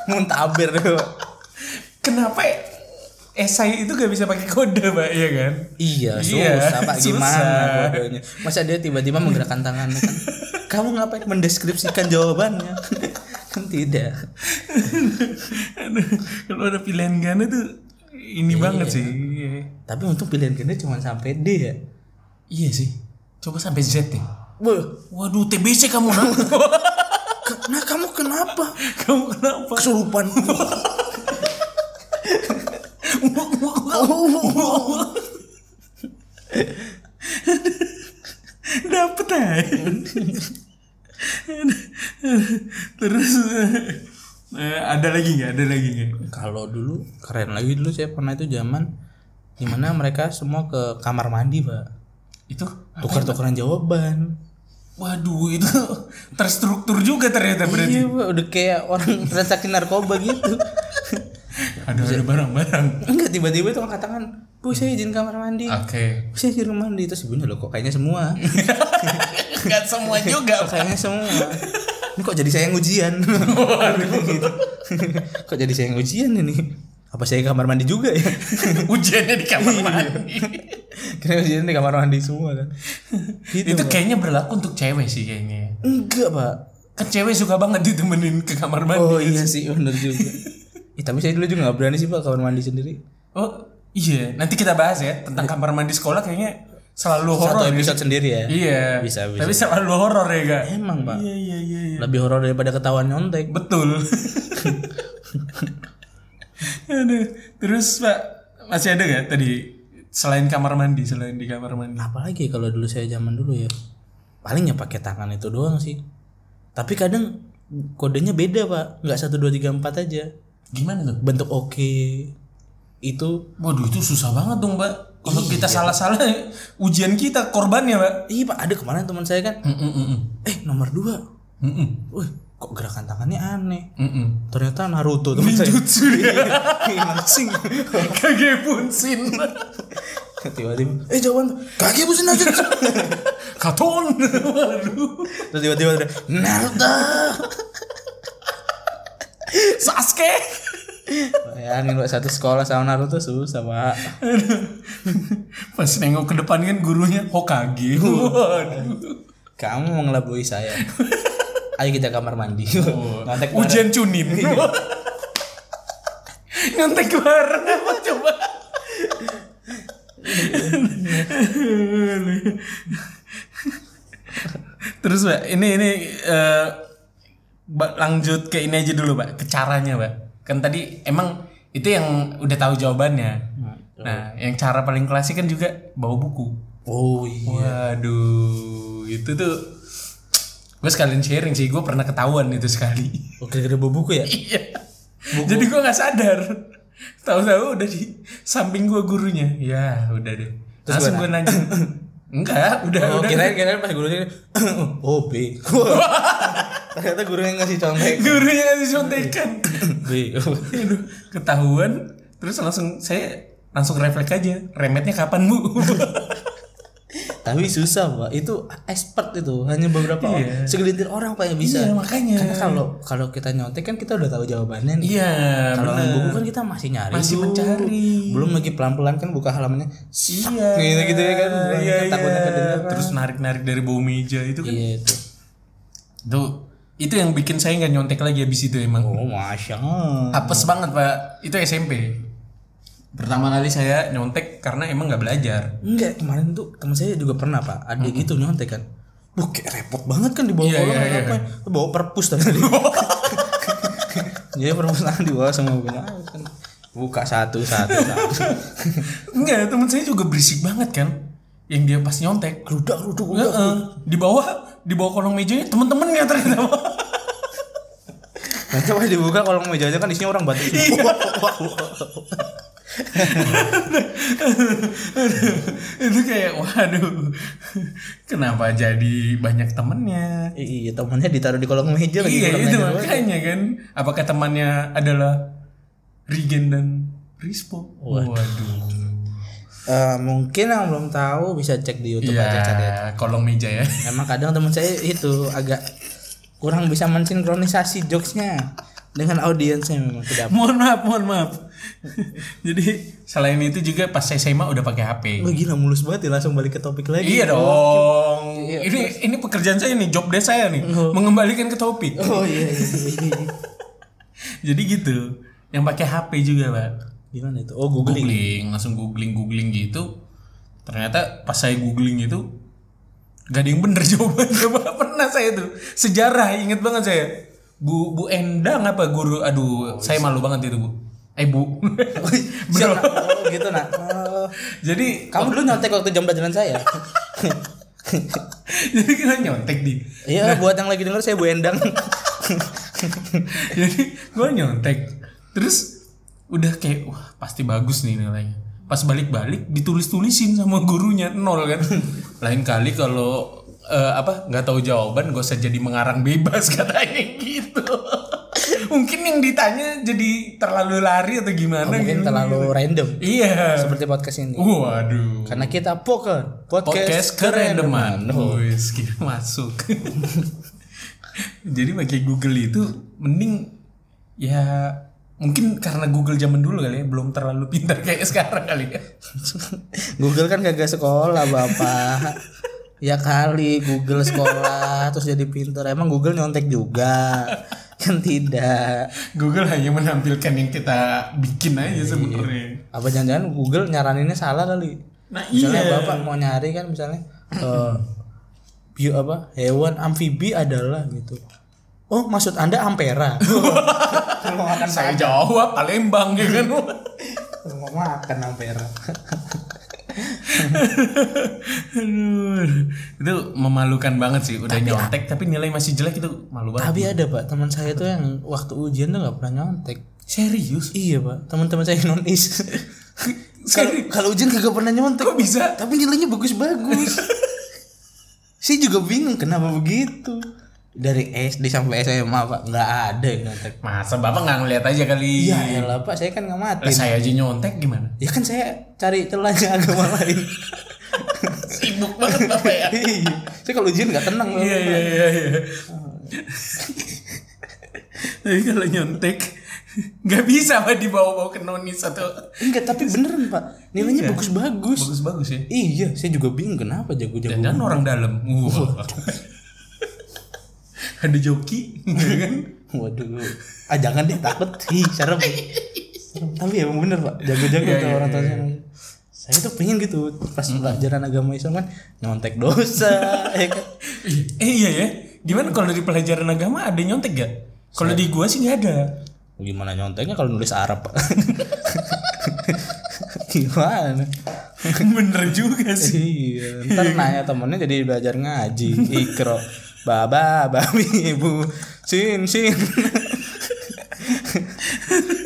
[SPEAKER 2] Muntaber.
[SPEAKER 1] kenapa esai itu gak bisa pakai kode, Pak? Iya kan?
[SPEAKER 2] Iya,
[SPEAKER 1] Iya,
[SPEAKER 2] susah Pak
[SPEAKER 1] susah.
[SPEAKER 2] gimana bodohnya. Masa dia tiba-tiba menggerakkan tangannya kan. Kamu ngapain mendeskripsikan jawabannya? [LAUGHS] kan tidak.
[SPEAKER 1] Aduh, Kalau ada pilihan ganda tuh ini banget sih. Iya.
[SPEAKER 2] Tapi untung pilihan ganda cuma sampai D ya.
[SPEAKER 1] Iya sih. Coba sampai Z deh.
[SPEAKER 2] Wah,
[SPEAKER 1] Waduh, TBC kamu nak.
[SPEAKER 2] nah kamu kenapa?
[SPEAKER 1] kamu kenapa?
[SPEAKER 2] Kesurupan.
[SPEAKER 1] Dapet aja. Terus eh, eh, ada lagi nggak? Ada lagi nggak?
[SPEAKER 2] Kalau dulu keren lagi dulu saya pernah itu zaman dimana mereka semua ke kamar mandi, Pak.
[SPEAKER 1] Itu
[SPEAKER 2] Tukar-tukaran jawaban.
[SPEAKER 1] waduh itu terstruktur juga ternyata berarti.
[SPEAKER 2] Iya, Pak, udah kayak orang [LAUGHS] transaksi narkoba gitu.
[SPEAKER 1] Ada ada barang-barang.
[SPEAKER 2] Enggak tiba-tiba itu orang katakan, "Bu, saya izin kamar mandi."
[SPEAKER 1] Oke.
[SPEAKER 2] saya di rumah mandi terus ibunya loh kok kayaknya
[SPEAKER 1] [LAUGHS]
[SPEAKER 2] semua
[SPEAKER 1] Enggak semua juga. [LAUGHS]
[SPEAKER 2] kok kayaknya semua ini kok jadi saya yang ujian Gitu. [LAUGHS] kok jadi saya yang ujian ini apa saya ke kamar mandi juga ya [LAUGHS]
[SPEAKER 1] Ujiannya di kamar mandi.
[SPEAKER 2] kira ujian di kamar mandi semua kan [LAUGHS] gitu
[SPEAKER 1] itu kayaknya berlaku untuk cewek sih kayaknya.
[SPEAKER 2] enggak pak
[SPEAKER 1] Kan cewek suka banget ditemenin ke kamar mandi.
[SPEAKER 2] oh iya sih bener juga [LAUGHS] Eh, tapi saya dulu juga gak berani sih pak kamar mandi sendiri
[SPEAKER 1] Oh iya, nanti kita bahas ya tentang kamar mandi sekolah kayaknya selalu
[SPEAKER 2] Iya. satu
[SPEAKER 1] horor. ya.
[SPEAKER 2] episode sendiri ya
[SPEAKER 1] Iya.
[SPEAKER 2] Bisa, bisa.
[SPEAKER 1] Tapi selalu horor ya kak.
[SPEAKER 2] emang pak
[SPEAKER 1] Iya iya iya. iya.
[SPEAKER 2] lebih horor daripada ketahuan nyontek [LAUGHS]
[SPEAKER 1] Betul. Aduh. Terus pak masih ada gak tadi selain kamar mandi selain di kamar mandi?
[SPEAKER 2] apalagi kalau dulu saya zaman dulu ya paling ya pakai tangan itu doang sih tapi kadang kodenya beda pak nggak satu dua tiga empat aja
[SPEAKER 1] Gimana tuh?
[SPEAKER 2] bentuk oke itu
[SPEAKER 1] Waduh itu susah banget dong pak. Kalau kita salah-salah ujian kita korbannya, Pak.
[SPEAKER 2] Iya pak ada kemarin teman saya kan
[SPEAKER 1] Mm -mm.
[SPEAKER 2] Eh nomor dua Wih kok gerakan tangannya aneh Ternyata Naruto teman saya
[SPEAKER 1] Ninjutsu
[SPEAKER 2] [LAUGHS]
[SPEAKER 1] ya.
[SPEAKER 2] Iya, langsing
[SPEAKER 1] Kage Bunsin.
[SPEAKER 2] Tiba-tiba Eh jawaban Kaki busin aja
[SPEAKER 1] Katon. Waduh.
[SPEAKER 2] Terus tiba-tiba ada Naruto
[SPEAKER 1] Sasuke.
[SPEAKER 2] Bayangin pak satu sekolah sama Naruto susah pak
[SPEAKER 1] Aduh. Pas nengok ke depan kan gurunya Hokage. Waduh.
[SPEAKER 2] Kamu mau ngelabui
[SPEAKER 1] [LAUGHS]
[SPEAKER 2] saya Ayo kita kamar mandi
[SPEAKER 1] Oh.
[SPEAKER 2] Nyontek bareng. Iya.
[SPEAKER 1] Ujian Chunin. [LAUGHS] Nyontek bareng apa coba? Terus Pak, ini ini eh, ba- lanjut ke ini aja dulu Pak, ke caranya Pak. Kan tadi emang itu yang udah tahu jawabannya. Nah, yang cara paling klasik kan juga bawa buku.
[SPEAKER 2] Oh iya
[SPEAKER 1] Waduh, itu tuh gue sekalian sharing sih, gue pernah ketahuan itu sekali.
[SPEAKER 2] Oke gara buku ya
[SPEAKER 1] Iya. Jadi gua nggak sadar. Tahu-tahu udah di samping gua gurunya. Ya, udah deh.
[SPEAKER 2] Terus
[SPEAKER 1] Langsung
[SPEAKER 2] gua
[SPEAKER 1] gua nanya. Enggak, udah
[SPEAKER 2] Oh,
[SPEAKER 1] udah.
[SPEAKER 2] kirain kirain pas gurunya [CLEARS THROAT] oh B
[SPEAKER 1] [LAUGHS]
[SPEAKER 2] ternyata gurunya ngasih contek
[SPEAKER 1] Gurunya ngasih contekan.
[SPEAKER 2] B
[SPEAKER 1] Aduh, ketahuan. Terus langsung saya langsung refleks aja. Remetnya kapan, Bu?
[SPEAKER 2] [LAUGHS] tapi susah pak itu expert itu hanya beberapa orang segelintir orang pak yang bisa
[SPEAKER 1] Iya, makanya.
[SPEAKER 2] karena kalau kalau kita nyontek kan kita udah tahu jawabannya nih
[SPEAKER 1] iya,
[SPEAKER 2] kalau
[SPEAKER 1] bener.
[SPEAKER 2] buku kan kita masih nyari
[SPEAKER 1] Masih
[SPEAKER 2] tuh.
[SPEAKER 1] mencari.
[SPEAKER 2] belum lagi pelan pelan kan buka halamannya sak,
[SPEAKER 1] Iya.
[SPEAKER 2] gitu gitu ya kan
[SPEAKER 1] Iya,
[SPEAKER 2] Kan takutnya
[SPEAKER 1] iya.
[SPEAKER 2] kedengeran.
[SPEAKER 1] Terus narik-narik dari bawah meja itu kan.
[SPEAKER 2] iya itu
[SPEAKER 1] Itu itu yang bikin saya nggak nyontek lagi habis itu emang.
[SPEAKER 2] oh masya Allah
[SPEAKER 1] Apes banget pak Itu SMP Pertama kali saya nyontek karena emang nggak belajar
[SPEAKER 2] Enggak, kemarin tuh teman saya juga pernah pak Ada gitu nyontek kan Wah kayak repot banget kan dibawa
[SPEAKER 1] Iya,
[SPEAKER 2] orang
[SPEAKER 1] iya, iya.
[SPEAKER 2] apa Bawa perpus tadi [LAUGHS] Jadi perpustakaan dibawa sama gue Nah, kan Buka satu satu satu
[SPEAKER 1] Enggak temen saya juga berisik banget kan Yang dia pas nyontek
[SPEAKER 2] Ludak ludak
[SPEAKER 1] Heeh. Di bawah Di bawah kolong mejanya temen-temennya ternyata [LAUGHS] Pak.
[SPEAKER 2] [LAUGHS] Nanti pas dibuka kolong mejanya kan isinya orang batik Wah, wah, wah.
[SPEAKER 1] Itu kayak waduh Kenapa jadi banyak temennya
[SPEAKER 2] Iya temennya ditaruh di kolong meja lagi
[SPEAKER 1] Iya
[SPEAKER 2] kolong
[SPEAKER 1] itu
[SPEAKER 2] meja.
[SPEAKER 1] makanya kan Apakah temannya adalah Regen dan Rispo Waduh
[SPEAKER 2] Eh, Mungkin yang belum tahu bisa cek di youtube aja
[SPEAKER 1] Iya
[SPEAKER 2] chat ya.
[SPEAKER 1] kolong meja ya
[SPEAKER 2] Emang kadang teman saya itu agak kurang bisa mensinkronisasi jokesnya dengan audiensnya memang tidak
[SPEAKER 1] mohon maaf mohon maaf [LAUGHS] jadi selain itu juga pas saya SMA udah pakai HP
[SPEAKER 2] Wah gila mulus banget ya langsung balik ke topik lagi.
[SPEAKER 1] iya dong
[SPEAKER 2] Iya,
[SPEAKER 1] ini ini pekerjaan saya nih job desk saya nih mengembalikan ke topik
[SPEAKER 2] Oh iya. iya, iya, iya.
[SPEAKER 1] jadi gitu yang pakai HP juga pak
[SPEAKER 2] Gimana itu? Oh googling.
[SPEAKER 1] googling langsung googling googling gitu ternyata pas saya googling itu gak ada yang bener [LAUGHS] jawabannya pak pernah saya tuh sejarah inget banget saya Bu Bu Endang apa
[SPEAKER 2] Oh,
[SPEAKER 1] guru aduh saya
[SPEAKER 2] iya.
[SPEAKER 1] malu banget itu Bu eh
[SPEAKER 2] [LAUGHS]
[SPEAKER 1] Bu
[SPEAKER 2] Siap,
[SPEAKER 1] Bro.
[SPEAKER 2] nak. Oh, gitu nak. Oh.
[SPEAKER 1] jadi
[SPEAKER 2] Kamu dulu nyontek waktu jam pelajaran saya. [LAUGHS]
[SPEAKER 1] [LAUGHS] jadi kita nyontek di
[SPEAKER 2] Iya buat yang lagi denger saya Bu [LAUGHS] Endang.
[SPEAKER 1] jadi gue nyontek terus udah kayak wah pasti bagus nih nilainya pas balik-balik ditulis-tulisin sama gurunya nol kan [LAUGHS] lain kali kalau eh, apa nggak tahu jawaban gak usah jadi mengarang bebas [LAUGHS] katanya gitu [LAUGHS] mungkin yang ditanya jadi terlalu lari atau gimana
[SPEAKER 2] Oh, Mungkin
[SPEAKER 1] gitu.
[SPEAKER 2] terlalu random
[SPEAKER 1] iya
[SPEAKER 2] seperti podcast ini.
[SPEAKER 1] waduh
[SPEAKER 2] Karena kita poker Uh. podcast, Oh,
[SPEAKER 1] podcast kerendeman Wis, kira masuk [LAUGHS] jadi pakai Google itu mending ya mungkin karena Google zaman dulu kali ya belum terlalu pintar [LAUGHS] kayak sekarang kali ya
[SPEAKER 2] Google kan kagak sekolah bapak. ya kali Google sekolah terus jadi pinter. Emang Google nyontek juga? Kan tidak.
[SPEAKER 1] Google hanya menampilkan yang kita bikin aja sebenarnya
[SPEAKER 2] apa jangan-jangan Google nyaraninnya salah kali
[SPEAKER 1] nah
[SPEAKER 2] misalnya
[SPEAKER 1] iya
[SPEAKER 2] bapak mau nyari kan misalnya eh bio apa hewan amfibi adalah gitu oh maksud anda
[SPEAKER 1] [LAUGHS]
[SPEAKER 2] ampera Kan mau makan
[SPEAKER 1] saya jawab Palembang ya kan [LAUGHS]
[SPEAKER 2] mau makan ampera
[SPEAKER 1] Aduh, itu memalukan banget sih udah nyontek tapi ah. nilai masih jelek itu malu banget
[SPEAKER 2] tapi ada pak teman saya tuh yang waktu ujian tuh nggak pernah nyontek
[SPEAKER 1] serius [LAUGHS]
[SPEAKER 2] iya pak teman-teman saya non is Kalau- Kalau Ujan kagak pernah nyontek.
[SPEAKER 1] Kok bisa?
[SPEAKER 2] Tapi nilainya
[SPEAKER 1] [LAUGHS]
[SPEAKER 2] bagus-bagus. Saya juga bingung kenapa begitu. Dari SD sampai SMA Pak nggak ada yang nyontek.
[SPEAKER 1] Masa bapak nggak ngeliat aja kali?
[SPEAKER 2] Ya elah Pak, saya kan nggak mati.
[SPEAKER 1] Iya, Lah, saya aja nyontek gimana?
[SPEAKER 2] Ya kan saya cari celahnya
[SPEAKER 1] [LAUGHS]
[SPEAKER 2] agama lain.
[SPEAKER 1] Sibuk banget bapak ya.
[SPEAKER 2] [LAUGHS] Iya. saya kalau ujian nggak tenang.
[SPEAKER 1] Iya iya iya. iya. Tapi kalau nyontek nggak bisa pak dibawa-bawa ke nonis atau
[SPEAKER 2] Enggak, tapi beneran Pak.
[SPEAKER 1] Iya.
[SPEAKER 2] Nilainya bagus-bagus.
[SPEAKER 1] bagus-bagus ya.
[SPEAKER 2] Iya, saya juga bingung kenapa jago-jago.
[SPEAKER 1] Dan orang dalam. Wah. Ada joki, ya kan?
[SPEAKER 2] Waduh. Ah jangan deh takut. Ih, serem. Serem. Tapi emang bener Pak, jago-jago
[SPEAKER 1] Iya,
[SPEAKER 2] tuh
[SPEAKER 1] iya,
[SPEAKER 2] orang
[SPEAKER 1] iya,
[SPEAKER 2] tua saya. Saya tuh pengen gitu pas pelajaran agama Islam kan nyontek
[SPEAKER 1] [LAUGHS]
[SPEAKER 2] dosa ya kan.
[SPEAKER 1] Iya. Eh iya ya. Gimana kalau dari pelajaran agama ada nyontek gak? Kalau di gua sih nggak ada. [LAUGHS]
[SPEAKER 2] Gimana nyonteknya kalau nulis Arab, Pak? [LAUGHS] Gimana?
[SPEAKER 1] Bener juga sih.
[SPEAKER 2] Iya, ntar nanya temennya jadi belajar ngaji, ikro, baba, babi, ibu, sin, sin.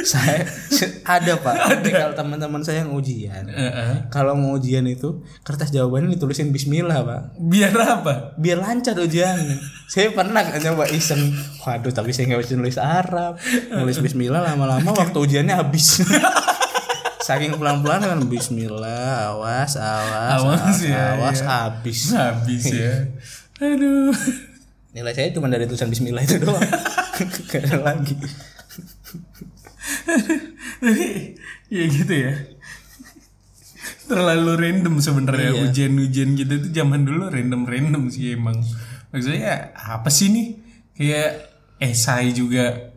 [SPEAKER 2] saya se- ada pak, Tapi kalau teman-teman saya yang ujian,
[SPEAKER 1] Heeh.
[SPEAKER 2] kalau mau ujian itu kertas jawabannya ditulisin Bismillah pak,
[SPEAKER 1] Biar apa?
[SPEAKER 2] biar lancar ujiannya. Saya pernah kan nyoba iseng, waduh tapi saya nggak bisa nulis Arab, nulis Bismillah lama-lama waktu ujiannya habis. [LAUGHS] Saking pelan-pelan kan Bismillah, awas, awas,
[SPEAKER 1] Awas
[SPEAKER 2] awas,
[SPEAKER 1] ya,
[SPEAKER 2] awas,
[SPEAKER 1] iya.
[SPEAKER 2] habis.
[SPEAKER 1] Habis [LAUGHS] ya. Aduh.
[SPEAKER 2] Nilai saya cuma dari tulisan Bismillah itu doang, [LAUGHS] gak ada lagi.
[SPEAKER 1] Tapi ya gitu ya. Terlalu random sebenarnya
[SPEAKER 2] Iya.
[SPEAKER 1] ujian-ujian gitu tuh zaman dulu random-random sih emang. Maksudnya apa sih nih? Kayak esai juga.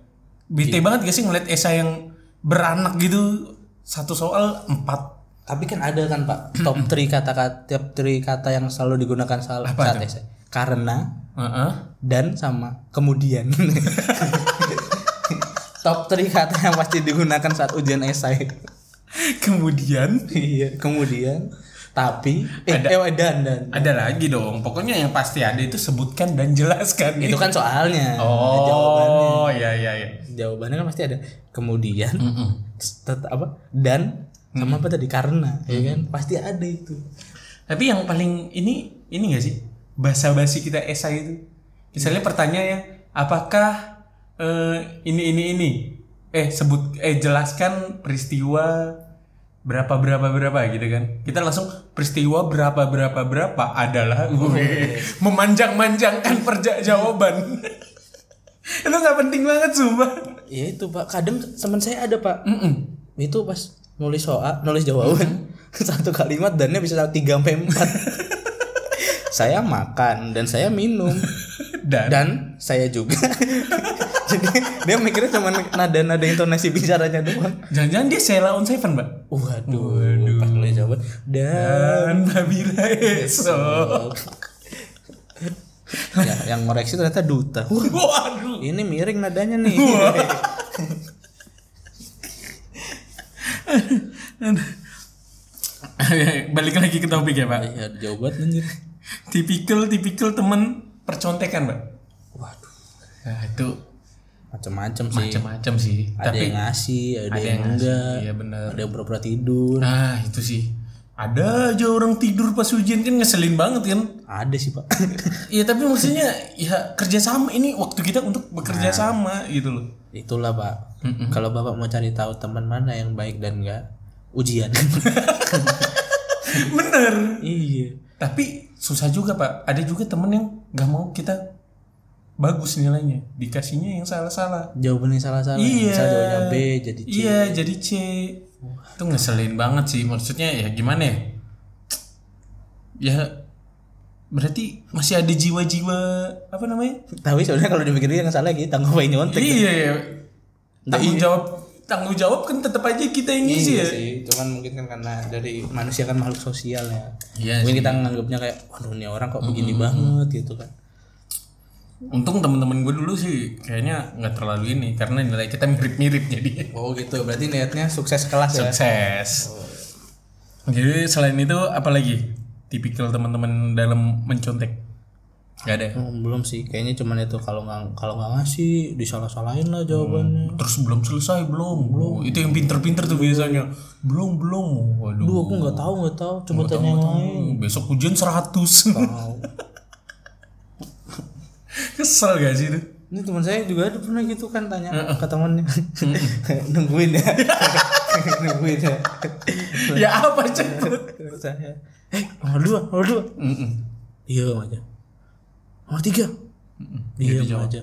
[SPEAKER 1] Bete
[SPEAKER 2] Iya.
[SPEAKER 1] banget gak sih ngeliat esai yang beranak gitu satu soal empat
[SPEAKER 2] Tapi kan ada kan Pak top 3 kata-kata top 3 kata yang selalu digunakan sal-
[SPEAKER 1] Apa
[SPEAKER 2] saat esai. Karena
[SPEAKER 1] Heeh.
[SPEAKER 2] dan sama kemudian. top 3 kata yang pasti digunakan saat ujian esai.
[SPEAKER 1] [LAUGHS] Kemudian
[SPEAKER 2] iya, kemudian tapi eh,
[SPEAKER 1] Ada-
[SPEAKER 2] eh, dan dan
[SPEAKER 1] ada lagi dong. Pokoknya yang pasti ada itu sebutkan dan jelaskan.
[SPEAKER 2] itu kan soalnya jawabannya
[SPEAKER 1] Oh, ya ya ya.
[SPEAKER 2] jawabannya kan pasti ada kemudian tet- apa dan sama apa tadi karena ya kan pasti ada itu
[SPEAKER 1] Tapi yang paling ini ini gak sih bahasa basi kita esai itu. Misalnya pertanyaannya apakah eh, ini ini ini eh sebut eh jelaskan peristiwa berapa berapa berapa gitu kan. Kita langsung peristiwa berapa berapa berapa adalah Weh, [LAUGHS] memanjang-manjangkan perja jawaban. [LAUGHS] itu nggak penting banget sumpah.
[SPEAKER 2] ya itu pak kadang teman saya ada pak
[SPEAKER 1] Mm-mm.
[SPEAKER 2] itu pas nulis soal nulis jawaban [LAUGHS] satu kalimat dannya bisa tiga sampai empat
[SPEAKER 1] [LAUGHS]
[SPEAKER 2] saya makan dan saya minum
[SPEAKER 1] [LAUGHS] Dan,
[SPEAKER 2] dan saya juga [LAUGHS] jadi dia mikirnya cuma nada-nada intonasi bicaranya doang
[SPEAKER 1] jangan-jangan dia Sheila on Seven, Mbak.
[SPEAKER 2] waduh, pas nulis jawaban
[SPEAKER 1] [LAUGHS]
[SPEAKER 2] dan
[SPEAKER 1] Dan Babila Esok.
[SPEAKER 2] ya, yang ngoreksi ternyata duta. Wah,
[SPEAKER 1] Waduh.
[SPEAKER 2] ini miring nadanya nih.
[SPEAKER 1] [LAUGHS] Balik lagi ke topik ya, Pak.
[SPEAKER 2] [LAUGHS] ya, jauh banget anjir.
[SPEAKER 1] Tipikal-tipikal temen percontekan, Pak.
[SPEAKER 2] Waduh,
[SPEAKER 1] Ya, itu
[SPEAKER 2] macam-macam sih.
[SPEAKER 1] macam-macam sih.
[SPEAKER 2] Ada
[SPEAKER 1] Tapi
[SPEAKER 2] yang ngasih, ada,
[SPEAKER 1] ada
[SPEAKER 2] yang
[SPEAKER 1] yang ngasih,
[SPEAKER 2] enggak.
[SPEAKER 1] iya benar.
[SPEAKER 2] Ada yang pura-pura tidur.
[SPEAKER 1] nah, itu sih. Ada aja orang tidur pas ujian kan ngeselin banget kan.
[SPEAKER 2] Ada sih, Pak. [LAUGHS]
[SPEAKER 1] Iya, tapi maksudnya ya kerja sama ini waktu kita untuk bekerja sama gitu loh.
[SPEAKER 2] Itulah, Pak. Kalau Bapak mau cari tahu teman mana yang baik dan enggak, [LAUGHS] ujian.
[SPEAKER 1] Bener.
[SPEAKER 2] iya.
[SPEAKER 1] Tapi susah juga pak. Ada juga temen yang nggak mau kita bagus nilainya, dikasihnya yang salah-salah.
[SPEAKER 2] Jawabannya salah-salah.
[SPEAKER 1] Iya.
[SPEAKER 2] Misalnya jawabannya B jadi C.
[SPEAKER 1] Iya, jadi C. Itu ngeselin banget sih. Maksudnya ya gimana ya? Ya berarti masih ada jiwa-jiwa apa namanya?
[SPEAKER 2] Tapi sebenarnya kalau dipikirin yang salah kita ngapain nyontek.
[SPEAKER 1] Iya, ya. Tanggung jawab tanggung jawab kan tetap aja kita yang ngisi
[SPEAKER 2] Iya
[SPEAKER 1] ya.
[SPEAKER 2] sih, cuman mungkin kan karena dari manusia kan makhluk sosial ya.
[SPEAKER 1] Iya
[SPEAKER 2] mungkin kita nganggapnya kayak waduh ini orang kok begini banget gitu kan.
[SPEAKER 1] Untung temen-temen gue dulu sih kayaknya nggak terlalu ini karena nilai kita mirip-mirip jadi.
[SPEAKER 2] Oh gitu, berarti niatnya sukses kelas ya.
[SPEAKER 1] sukses. Jadi selain itu apalagi tipikal teman-teman dalam mencontek? Gak ada. ya?
[SPEAKER 2] Hmm, belum sih kayaknya cuman itu kalau nggak kalau nggak ngasih disalah-salahin lah jawabannya
[SPEAKER 1] Terus belum selesai belum belum. Itu yang pinter-pinter tuh biasanya. Belum belum. Waduh.
[SPEAKER 2] Duh aku nggak tahu Hmm, nggak tahu coba tanya yang lain
[SPEAKER 1] Hmm, Besok hujan 100
[SPEAKER 2] Tahu.
[SPEAKER 1] [LAUGHS] Kesel gak sih itu?
[SPEAKER 2] ini teman saya juga ada pernah gitu kan tanya ke temannya [LAUGHS] nungguin [LAUGHS] ya nungguin ya
[SPEAKER 1] ya apa cepet?
[SPEAKER 2] saya eh nomor dua nomor dua iya Om aja nomor tiga iya Om aja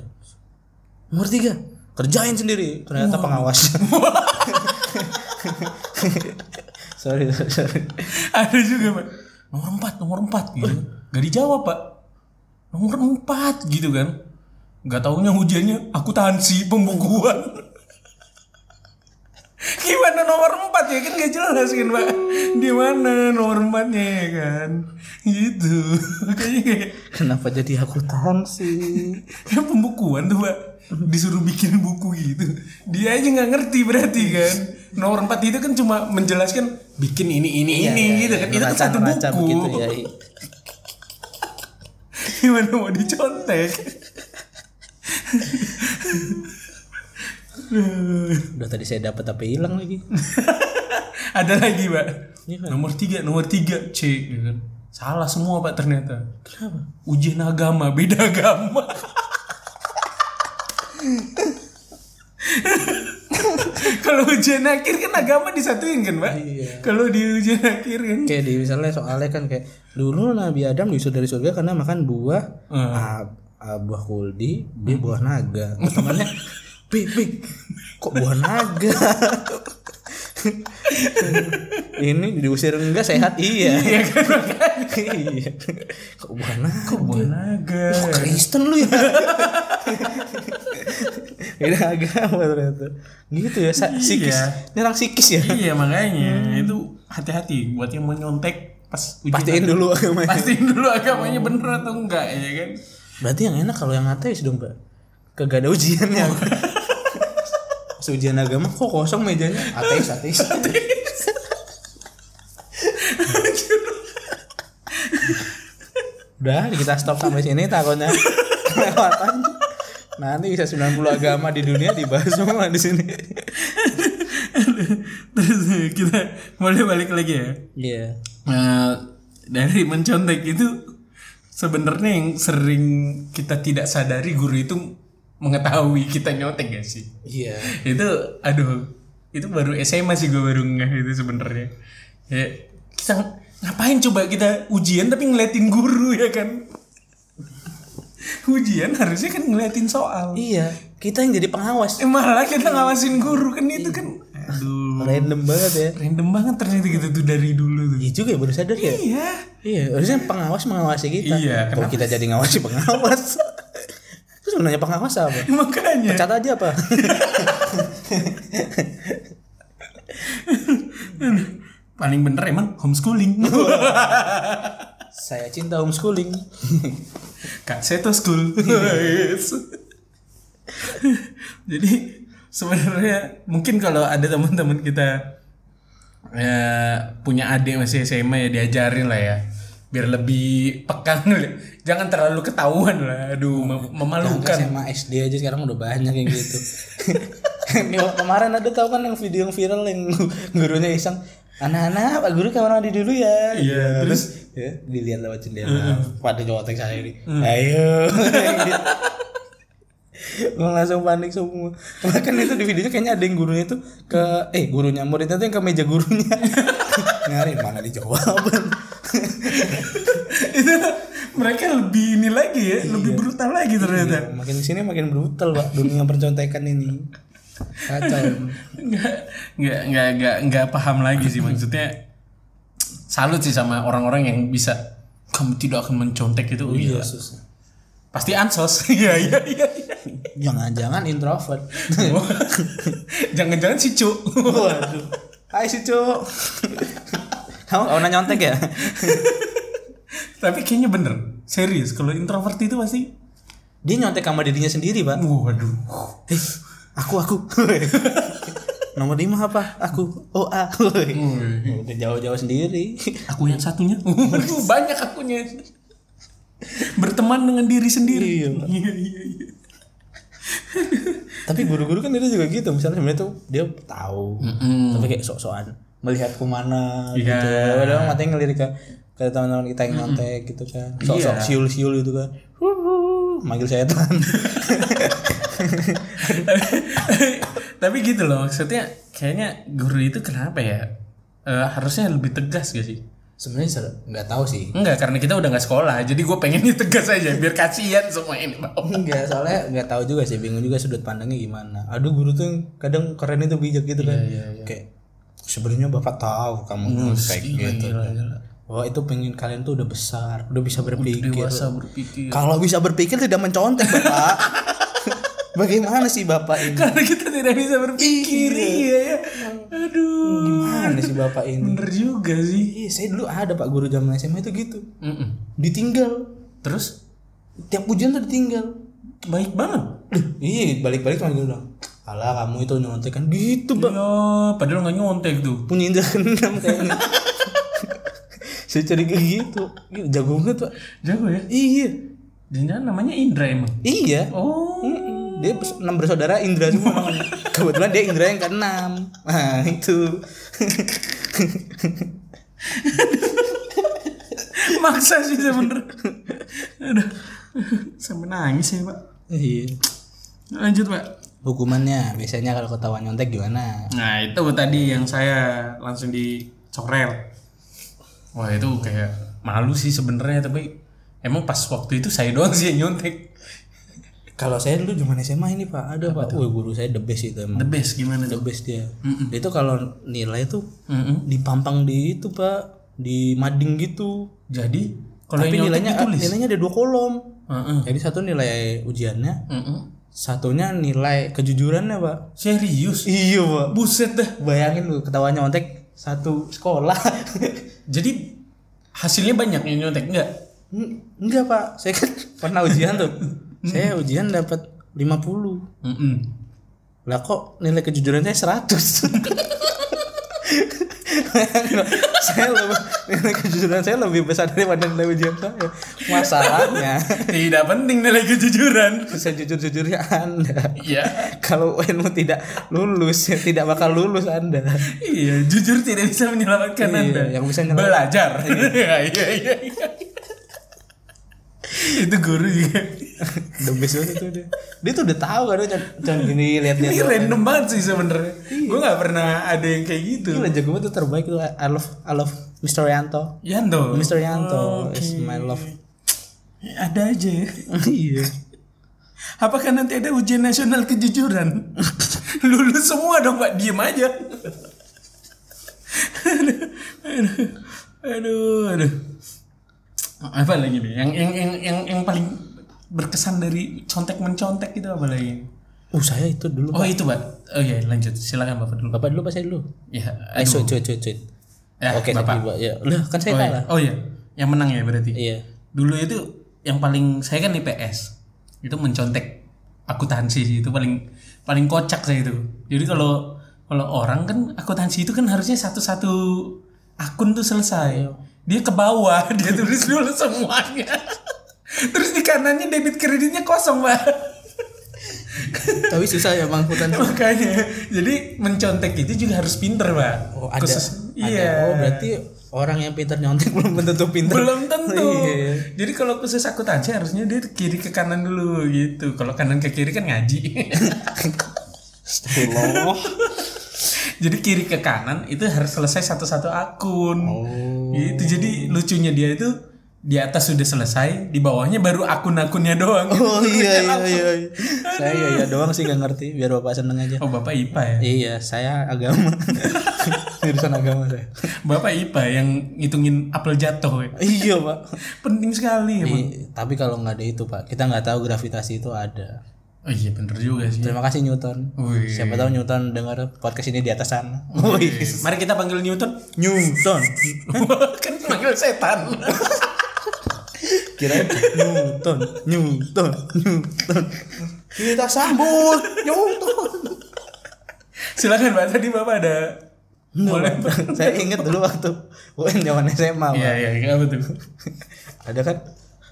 [SPEAKER 2] nomor tiga kerjain sendiri ternyata [LAUGHS] pengawas sorry sorry, sorry.
[SPEAKER 1] [LAUGHS] Ada juga pak. Nomor 4, nomor 4 gitu. Gak dijawab pak. Nomor 4 gitu kan. Gak taunya hujannya akuntansi pembukuan. [LAUGHS] Gimana nomor 4 ya kan gak jelas kan pak. Di mana nomor 4 nya ya kan. Gitu. [LAUGHS] Kayaknya kayak
[SPEAKER 2] kenapa jadi akuntansi
[SPEAKER 1] ya pembukuan tuh pak. Disuruh bikin buku gitu. Dia aja gak ngerti berarti kan. Nomor 4 itu kan cuma menjelaskan bikin ini ini ini gitu kan. Itu kan satu
[SPEAKER 2] Iya, Neraca-neraca
[SPEAKER 1] buku.
[SPEAKER 2] begitu ya
[SPEAKER 1] gimana mau dicontek
[SPEAKER 2] udah tadi saya dapat tapi hilang
[SPEAKER 1] [LAUGHS]
[SPEAKER 2] lagi
[SPEAKER 1] ada lagi pak
[SPEAKER 2] Iya, Pak.
[SPEAKER 1] nomor tiga nomor tiga c gitu kan. salah semua pak ternyata
[SPEAKER 2] kenapa
[SPEAKER 1] ujian agama beda agama kalau ujian akhir kan agama disatuin kan pak
[SPEAKER 2] Iya.
[SPEAKER 1] kalau di ujian akhir kan
[SPEAKER 2] kayak di misalnya soalnya kan kayak dulu Nabi Adam diusir dari surga karena makan buah
[SPEAKER 1] Hmm.
[SPEAKER 2] A- A- buah kuldi B buah naga Terus temannya
[SPEAKER 1] [LAUGHS]
[SPEAKER 2] B B kok buah naga [LAUGHS] ini diusir enggak sehat [LAUGHS] iya iya kok buah naga
[SPEAKER 1] Buah naga
[SPEAKER 2] Kristen lu ya [LAUGHS] beda agama ternyata gitu ya sa- psikis
[SPEAKER 1] Iya.
[SPEAKER 2] nyerang psikis ya
[SPEAKER 1] iya makanya
[SPEAKER 2] Hmm.
[SPEAKER 1] itu hati-hati buat yang mau nyontek pas ujian
[SPEAKER 2] pastiin dulu agamanya
[SPEAKER 1] pastiin dulu agamanya bener atau enggak ya kan
[SPEAKER 2] Berarti yang enak kalau yang ateis dong, Pak. Kagak ada ya. ujiannya. [LAUGHS] Pas ujian agama kok kosong mejanya? Ateis, [LAUGHS] ateis. Udah, kita stop sampai sini [LAUGHS] takutnya kelewatan. Nanti bisa 90 agama di dunia dibahas semua di sini.
[SPEAKER 1] [LAUGHS] terus kita mulai balik lagi ya
[SPEAKER 2] Iya.
[SPEAKER 1] Eh, dari mencontek itu sebenarnya yang sering kita tidak sadari guru itu mengetahui kita nyontek gak sih
[SPEAKER 2] Iya.
[SPEAKER 1] itu aduh itu baru SMA sih gue baru ngeh itu sebenarnya ya kita ng- ngapain coba kita ujian tapi ngeliatin guru ya kan [LAUGHS] ujian harusnya kan ngeliatin soal
[SPEAKER 2] Iya, kita yang jadi pengawas.
[SPEAKER 1] Eh, malah kita ngawasin guru kan itu kan aduh
[SPEAKER 2] Random banget ya.
[SPEAKER 1] Random banget ternyata gitu tuh dari dulu tuh.
[SPEAKER 2] Iya juga ya baru sadar ya.
[SPEAKER 1] Iya.
[SPEAKER 2] Iya, harusnya pengawas mengawasi kita.
[SPEAKER 1] Iya,
[SPEAKER 2] Kalau kita jadi ngawasi pengawas. Terus mau nanya pengawas apa?
[SPEAKER 1] Iya, Makanya.
[SPEAKER 2] Pecat aja [LAUGHS] apa?
[SPEAKER 1] Paling bener emang [LAUGHS] homeschooling.
[SPEAKER 2] Saya cinta homeschooling.
[SPEAKER 1] Kak Seto School. Yes. Jadi sebenarnya mungkin kalau ada teman-teman kita eh, punya adik masih SMA ya diajarin lah ya biar lebih peka [LAUGHS] ngeliat. jangan terlalu ketahuan lah aduh mem- memalukan
[SPEAKER 2] SMA SD aja sekarang udah banyak yang gitu. [LAUGHS] Ini kemarin ada tau kan yang video yang viral yang gurunya iseng anak-anak pak guru kamar mandi dulu ya
[SPEAKER 1] Iya,
[SPEAKER 2] terus ya, dilihat lewat jendela pada cowok saya ini Nah, ayo [LAUGHS] Gua langsung panik semua bahkan itu di videonya kayaknya ada yang gurunya tuh ke eh gurunya muridnya tuh yang ke meja gurunya [LAUGHS] nyari mana dijawaban
[SPEAKER 1] itu [LAUGHS] mereka lebih ini lagi ya lebih brutal lagi ternyata
[SPEAKER 2] [LAUGHS] makin sini makin brutal pak dunia percontekan ini kacau emang.
[SPEAKER 1] nggak nggak nggak nggak nggak paham lagi sih maksudnya salut sih sama orang-orang yang bisa kamu tidak akan mencontek itu oh, iya.
[SPEAKER 2] Susah.
[SPEAKER 1] pasti ansos [LAUGHS] iya iya iya iya. [LAUGHS]
[SPEAKER 2] jangan-jangan introvert
[SPEAKER 1] Oh. jangan-jangan si cu
[SPEAKER 2] [LAUGHS] waduh hai si Cuk. kamu gak pernah nyontek ya
[SPEAKER 1] [LAUGHS] tapi kayaknya bener serius kalau introvert itu pasti
[SPEAKER 2] [LAUGHS] dia nyontek sama dirinya sendiri pak
[SPEAKER 1] waduh
[SPEAKER 2] eh aku aku [LAUGHS] nomor lima apa aku oh ah udah jauh-jauh sendiri
[SPEAKER 1] [LAUGHS] aku yang satunya waduh banyak akunya berteman dengan diri sendiri
[SPEAKER 2] Iya, Pak.
[SPEAKER 1] iya iya iya
[SPEAKER 2] [LAUGHS] Tapi guru-guru kan dia juga gitu. Misalnya sebenarnya tuh dia tahu. Tapi kayak sok-sokan melihatku mana
[SPEAKER 1] Iya.
[SPEAKER 2] gitu. Padahal matanya ngelirik ke ke teman-teman kita yang nyontek gitu kan. Sok-sok
[SPEAKER 1] Iya.
[SPEAKER 2] siul-siul gitu kan. Wuhu, manggil setan.
[SPEAKER 1] tapi gitu loh maksudnya kayaknya guru itu kenapa ya Eh, harusnya lebih tegas gak sih
[SPEAKER 2] [LAUGHS] sebenarnya ser- nggak tahu sih.
[SPEAKER 1] Enggak, karena kita udah nggak sekolah, jadi gue pengennya tegas aja, biar kasihan semua ini.
[SPEAKER 2] Enggak, soalnya nggak tahu juga sih, bingung juga sudut pandangnya gimana. Aduh, guru tuh yang kadang keren itu bijak gitu kan.
[SPEAKER 1] Iya,
[SPEAKER 2] Kayak sebenarnya Bapak tahu
[SPEAKER 1] Hmm,
[SPEAKER 2] kamu kayak gitu. kan. Wah, itu pengen kalian tuh udah besar, udah bisa berpikir.
[SPEAKER 1] Dewasa berpikir.
[SPEAKER 2] Kalau bisa berpikir tidak mencontek, Bapak. [LAUGHS] Bagaimana sih Bapak ini?
[SPEAKER 1] Karena kita tidak bisa berpikir, iya ya. Aduh,
[SPEAKER 2] Gimana sih Bapak ini?
[SPEAKER 1] bener juga sih.
[SPEAKER 2] Iya, saya dulu ada Pak guru zaman SMA itu gitu.
[SPEAKER 1] Mm-mm.
[SPEAKER 2] Ditinggal.
[SPEAKER 1] Terus
[SPEAKER 2] Tiap ujian tuh ditinggal.
[SPEAKER 1] baik banget.
[SPEAKER 2] Duh, iya, balik-balik cuma gitu doang. Alah, kamu itu nyontek kan gitu, Pak.
[SPEAKER 1] Ya, padahal nggak nyontek tuh.
[SPEAKER 2] [LAUGHS] punya indra keenam kayaknya saya cari kayak gitu Gila, jago banget pak
[SPEAKER 1] Jago ya.
[SPEAKER 2] iya
[SPEAKER 1] Jangan namanya Indra emang.
[SPEAKER 2] iya
[SPEAKER 1] Oh,
[SPEAKER 2] dia pers- enam bersaudara indra semua namanya. kebetulan dia indra yang keenam nah itu
[SPEAKER 1] maksa sih sebenernya. [LAUGHS] Aduh, sampai nangis ya pak.
[SPEAKER 2] iya
[SPEAKER 1] Lanjut pak.
[SPEAKER 2] hukumannya biasanya kalau ketahuan nyontek gimana
[SPEAKER 1] Nah itu tadi yang saya langsung dicorel. Wah itu kayak malu sih sebenarnya tapi emang pas waktu itu saya doang sih yang nyontek.
[SPEAKER 2] kalau saya dulu zaman SMA ini pak ada pak Wih, guru saya the best itu emang
[SPEAKER 1] The best gimana
[SPEAKER 2] the
[SPEAKER 1] tuh?
[SPEAKER 2] best dia Dia itu kalau nilai tuh
[SPEAKER 1] Mm-mm.
[SPEAKER 2] dipampang di itu pak di mading gitu
[SPEAKER 1] Jadi kalau
[SPEAKER 2] tapi
[SPEAKER 1] yang nyontek
[SPEAKER 2] nilainya
[SPEAKER 1] ditulis.
[SPEAKER 2] nilainya ada dua kolom
[SPEAKER 1] Heeh.
[SPEAKER 2] jadi satu nilai ujiannya
[SPEAKER 1] Mm-mm.
[SPEAKER 2] Satunya nilai kejujurannya, Pak.
[SPEAKER 1] Serius?
[SPEAKER 2] Iya, Pak.
[SPEAKER 1] Buset dah.
[SPEAKER 2] Bayangin lu ketawa nyontek satu sekolah. [LAUGHS]
[SPEAKER 1] Jadi hasilnya banyak yang nyontek enggak?
[SPEAKER 2] N- Enggak, Pak. Saya kan pernah ujian tuh. saya ujian dapat 50.
[SPEAKER 1] Mm-mm.
[SPEAKER 2] Lah kok nilai kejujuran saya 100? Bayangin, Pak. [LAUGHS] saya lebih, nilai kejujuran saya lebih besar daripada nilai ujian saya. Masalahnya
[SPEAKER 1] [LAUGHS] Tidak penting nilai kejujuran.
[SPEAKER 2] sejujur-jujurnya ya Anda.
[SPEAKER 1] [LAUGHS] Iya.
[SPEAKER 2] [LAUGHS] Kalau ilmu tidak lulus, [LAUGHS] ya tidak bakal lulus Anda.
[SPEAKER 1] Iya, jujur tidak bisa menyelamatkan
[SPEAKER 2] Iya,
[SPEAKER 1] Anda.
[SPEAKER 2] yang bisa nyelamat-
[SPEAKER 1] belajar. [LAUGHS] Iya, iya, iya. iya. Itu guru juga.
[SPEAKER 2] the best banget itu dia dia tuh udah tahu kan dia cuman gini lihat-lihat
[SPEAKER 1] Ini
[SPEAKER 2] doang.
[SPEAKER 1] random banget sih sebenarnya.
[SPEAKER 2] Iya.
[SPEAKER 1] Gue nggak pernah ada yang kayak gitu.
[SPEAKER 2] gila jago banget tuh terbaik tuh I love I love Mr. Yanto
[SPEAKER 1] Yanto.
[SPEAKER 2] Mr. Yanto
[SPEAKER 1] Oke.
[SPEAKER 2] is my love
[SPEAKER 1] Ada aja. ya.
[SPEAKER 2] [LAUGHS] iya
[SPEAKER 1] Apakah nanti ada ujian nasional kejujuran? [LAUGHS] Lulus semua dong, Pak. Diem aja. aduh, aduh, aduh, aduh. Apa lagi nih? Yang yang yang yang, yang paling berkesan dari contek mencontek itu apa lagi?
[SPEAKER 2] uh saya itu dulu
[SPEAKER 1] Oh itu pak. Oh iya lanjut. Silakan bapak dulu.
[SPEAKER 2] bapak dulu apa saya dulu
[SPEAKER 1] Ya.
[SPEAKER 2] eh
[SPEAKER 1] aduh.
[SPEAKER 2] cuit cuit cuit cuit
[SPEAKER 1] Ya,
[SPEAKER 2] oke saya
[SPEAKER 1] bapak.
[SPEAKER 2] dulu, ya lah kan saya
[SPEAKER 1] Oh iya.
[SPEAKER 2] kalah
[SPEAKER 1] oh iya. Yang menang ya berarti.
[SPEAKER 2] iya
[SPEAKER 1] Dulu itu yang paling saya kan IPS. Itu mencontek akuntansi sih itu paling paling kocak saya itu. Jadi kalau kalau orang kan akuntansi itu kan harusnya satu-satu akun tuh
[SPEAKER 2] Iya.
[SPEAKER 1] selesai. Dia ke bawah, [LAUGHS] dia tulis dulu semuanya. [LAUGHS] Terus di kanannya debit kreditnya kosong, Pak. [LAUGHS]
[SPEAKER 2] tapi susah ya bang hutan [LAUGHS]
[SPEAKER 1] Makanya, jadi mencontek itu juga harus pinter, Pak.
[SPEAKER 2] oh ada
[SPEAKER 1] Khusus-
[SPEAKER 2] ada.
[SPEAKER 1] iya.
[SPEAKER 2] oh berarti orang yang pintar nyontek belum tentu pintar
[SPEAKER 1] belum tentu.
[SPEAKER 2] [LAUGHS] Iya.
[SPEAKER 1] Jadi kalau khusus akuntansi harusnya dia kiri ke kanan dulu gitu. Kalau kanan ke kiri kan ngaji. [LAUGHS]
[SPEAKER 2] Astagfirullah.
[SPEAKER 1] jadi kiri ke kanan itu harus selesai satu-satu akun.
[SPEAKER 2] Oh.
[SPEAKER 1] Gitu. Jadi lucunya dia itu di atas sudah selesai, di bawahnya baru akun-akunnya doang.
[SPEAKER 2] [LAUGHS]
[SPEAKER 1] gitu.
[SPEAKER 2] oh iya iya iya saya iya, iya doang sih gak ngerti biar bapak seneng aja
[SPEAKER 1] Oh, Bapak IPA ya.
[SPEAKER 2] Iya, saya agama. [LAUGHS] Jurusan agama saya.
[SPEAKER 1] Bapak IPA yang ngitungin apel jatuh. ya.
[SPEAKER 2] iya, Pak.
[SPEAKER 1] Penting
[SPEAKER 2] Iya.
[SPEAKER 1] sekali emang.
[SPEAKER 2] tapi kalau nggak ada itu, Pak, kita nggak tahu gravitasi itu ada.
[SPEAKER 1] Oh iya bener juga sih.
[SPEAKER 2] Terima kasih Newton.
[SPEAKER 1] Wih.
[SPEAKER 2] Siapa tahu Newton dengar podcast ini di atas sana. Wih.
[SPEAKER 1] Mari kita panggil Newton.
[SPEAKER 2] Newton.
[SPEAKER 1] [LAUGHS] kan panggil
[SPEAKER 2] [LAUGHS]
[SPEAKER 1] setan.
[SPEAKER 2] Kirain Newton, Newton, Newton. Kita sambut Newton.
[SPEAKER 1] Silakan Pak, tadi Bapak ada boleh.
[SPEAKER 2] Iya,
[SPEAKER 1] Pak?
[SPEAKER 2] saya ingat dulu waktu UN zaman SMA, Pak.
[SPEAKER 1] Iya, iya, apa iya, tuh?
[SPEAKER 2] Ada kan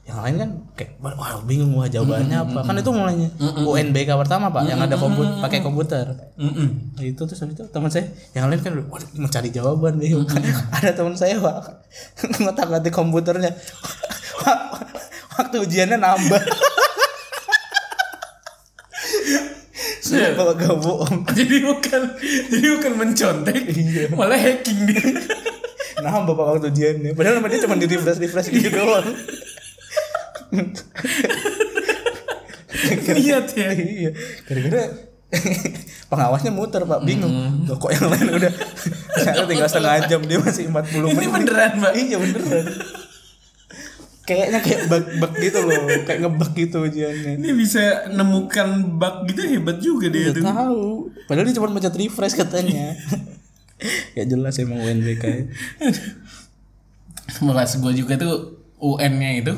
[SPEAKER 2] yang lain kan kayak wah bingung wah jawabannya apa kan itu mulainya UNBK pertama pak yang ada komputer pakai komputer
[SPEAKER 1] Mm-mm. [LAUGHS]
[SPEAKER 2] Nah, itu terus habis itu teman saya yang lain kan waduh, mencari jawaban bingung [LAUGHS] ada teman saya pak [LAUGHS] ngotak ngatik komputernya [LAUGHS] waktu ujiannya nambah sudah bawa bohong
[SPEAKER 1] jadi bukan jadi bukan mencontek malah hacking dia
[SPEAKER 2] nambah pak waktu ujiannya padahal sama dia cuma di refresh refresh gitu doang
[SPEAKER 1] niat ya
[SPEAKER 2] [LAUGHS] iya gara-gara [LAUGHS] pengawasnya muter pak bingung Loh, kok yang lain udah saya tinggal setengah jam dia masih 40 menit
[SPEAKER 1] ini beneran mbak
[SPEAKER 2] iya beneran kayaknya kayak bug-bug gitu loh kayak ngebug gitu ujiannya
[SPEAKER 1] ini bisa nemukan bug gitu hebat juga dia
[SPEAKER 2] Gak
[SPEAKER 1] tuh
[SPEAKER 2] tahu padahal dia cuma mencet refresh katanya [LAUGHS] ya jelas emang UNBK ya.
[SPEAKER 1] Kelas gue juga tuh UN-nya itu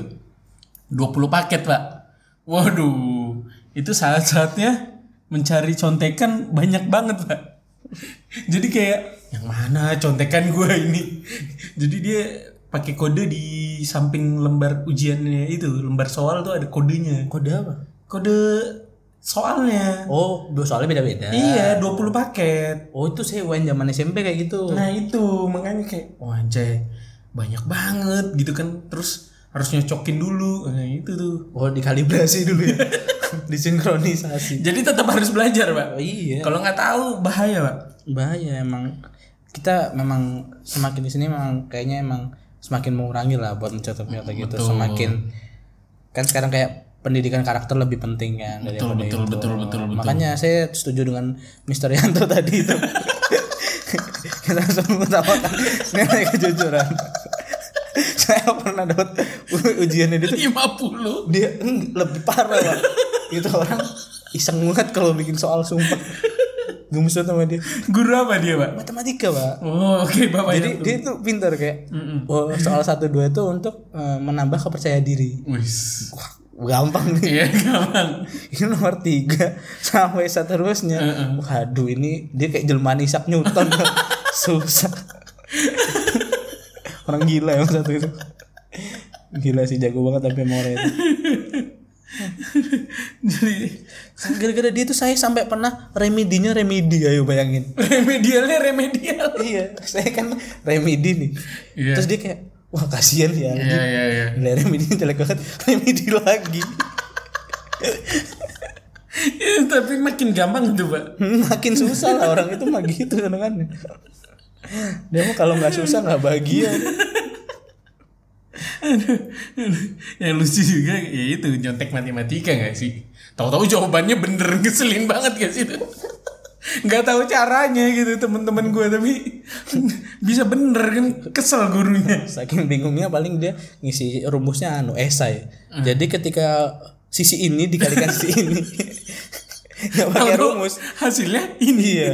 [SPEAKER 1] 20 paket pak Waduh Itu saat-saatnya mencari contekan banyak banget pak [LAUGHS] Jadi kayak yang mana contekan gue ini [LAUGHS] Jadi dia pakai kode di samping lembar ujiannya itu Lembar soal tuh ada kodenya
[SPEAKER 2] kode apa
[SPEAKER 1] Kode soalnya
[SPEAKER 2] oh ya. dua soalnya beda-beda
[SPEAKER 1] Iya 20 paket
[SPEAKER 2] oh itu saya UN zaman SMP kayak gitu
[SPEAKER 1] Nah itu makanya kayak wah anjay banyak banget gitu kan terus harus nyocokin dulu nah itu tuh
[SPEAKER 2] oh dikalibrasi dulu ya disinkronisasi
[SPEAKER 1] [LAUGHS] jadi tetap harus belajar
[SPEAKER 2] Oh,
[SPEAKER 1] pak
[SPEAKER 2] iya
[SPEAKER 1] kalau nggak tahu bahaya pak
[SPEAKER 2] bahaya emang kita memang semakin di sini memang kayaknya emang semakin mengurangi lah buat mencatat nyata gitu semakin kan sekarang kayak pendidikan karakter lebih penting kan betul betul, betul betul makanya saya setuju dengan Mister Yanto [LAUGHS] tadi itu kita langsung mengutamakan nilai kejujuran [LAUGHS] saya pernah dapat u- ujiannya dia tuh
[SPEAKER 1] 50
[SPEAKER 2] dia eng, lebih parah lah itu orang iseng banget kalau bikin soal sumpah gemes banget sama dia
[SPEAKER 1] guru apa dia pak
[SPEAKER 2] matematika pak
[SPEAKER 1] oh oke bapak
[SPEAKER 2] jadi
[SPEAKER 1] itu.
[SPEAKER 2] dia itu pintar kayak oh, soal satu dua itu untuk eh, menambah kepercayaan diri
[SPEAKER 1] wis
[SPEAKER 2] Wah, gampang nih
[SPEAKER 1] iya gampang
[SPEAKER 2] [LAUGHS] ini nomor tiga [LAUGHS] sampai seterusnya waduh ini dia kayak jelmaan Isaac
[SPEAKER 1] [LAUGHS]
[SPEAKER 2] Newton susah orang gila yang satu itu gila sih jago banget tapi mau itu
[SPEAKER 1] jadi
[SPEAKER 2] Kan gara-gara dia tuh saya sampai pernah remedinya remedi ayo bayangin
[SPEAKER 1] remedialnya remedial
[SPEAKER 2] iya saya kan remedi nih
[SPEAKER 1] Iya.
[SPEAKER 2] terus dia kayak wah kasihan ya
[SPEAKER 1] iya iya iya
[SPEAKER 2] Nilai remedinya jelek banget Remedi lagi
[SPEAKER 1] Ya, [LAUGHS] tapi makin gampang tuh pak
[SPEAKER 2] Makin susah lah orang itu mah gitu kadang-kadang Dia mah kalau nggak susah nggak bahagia
[SPEAKER 1] yang lucu juga ya itu nyontek matematika gak sih tahu-tahu jawabannya bener ngeselin banget gak sih [LAUGHS] itu nggak tahu caranya gitu teman-teman gue tapi [LAUGHS] bisa bener kan kesel gurunya
[SPEAKER 2] Saking bingungnya paling dia ngisi rumusnya anu esai Jadi ketika sisi ini dikalikan sisi ini [LAUGHS] Gak pakai
[SPEAKER 1] Tahu-tahu
[SPEAKER 2] rumus
[SPEAKER 1] hasilnya ini ya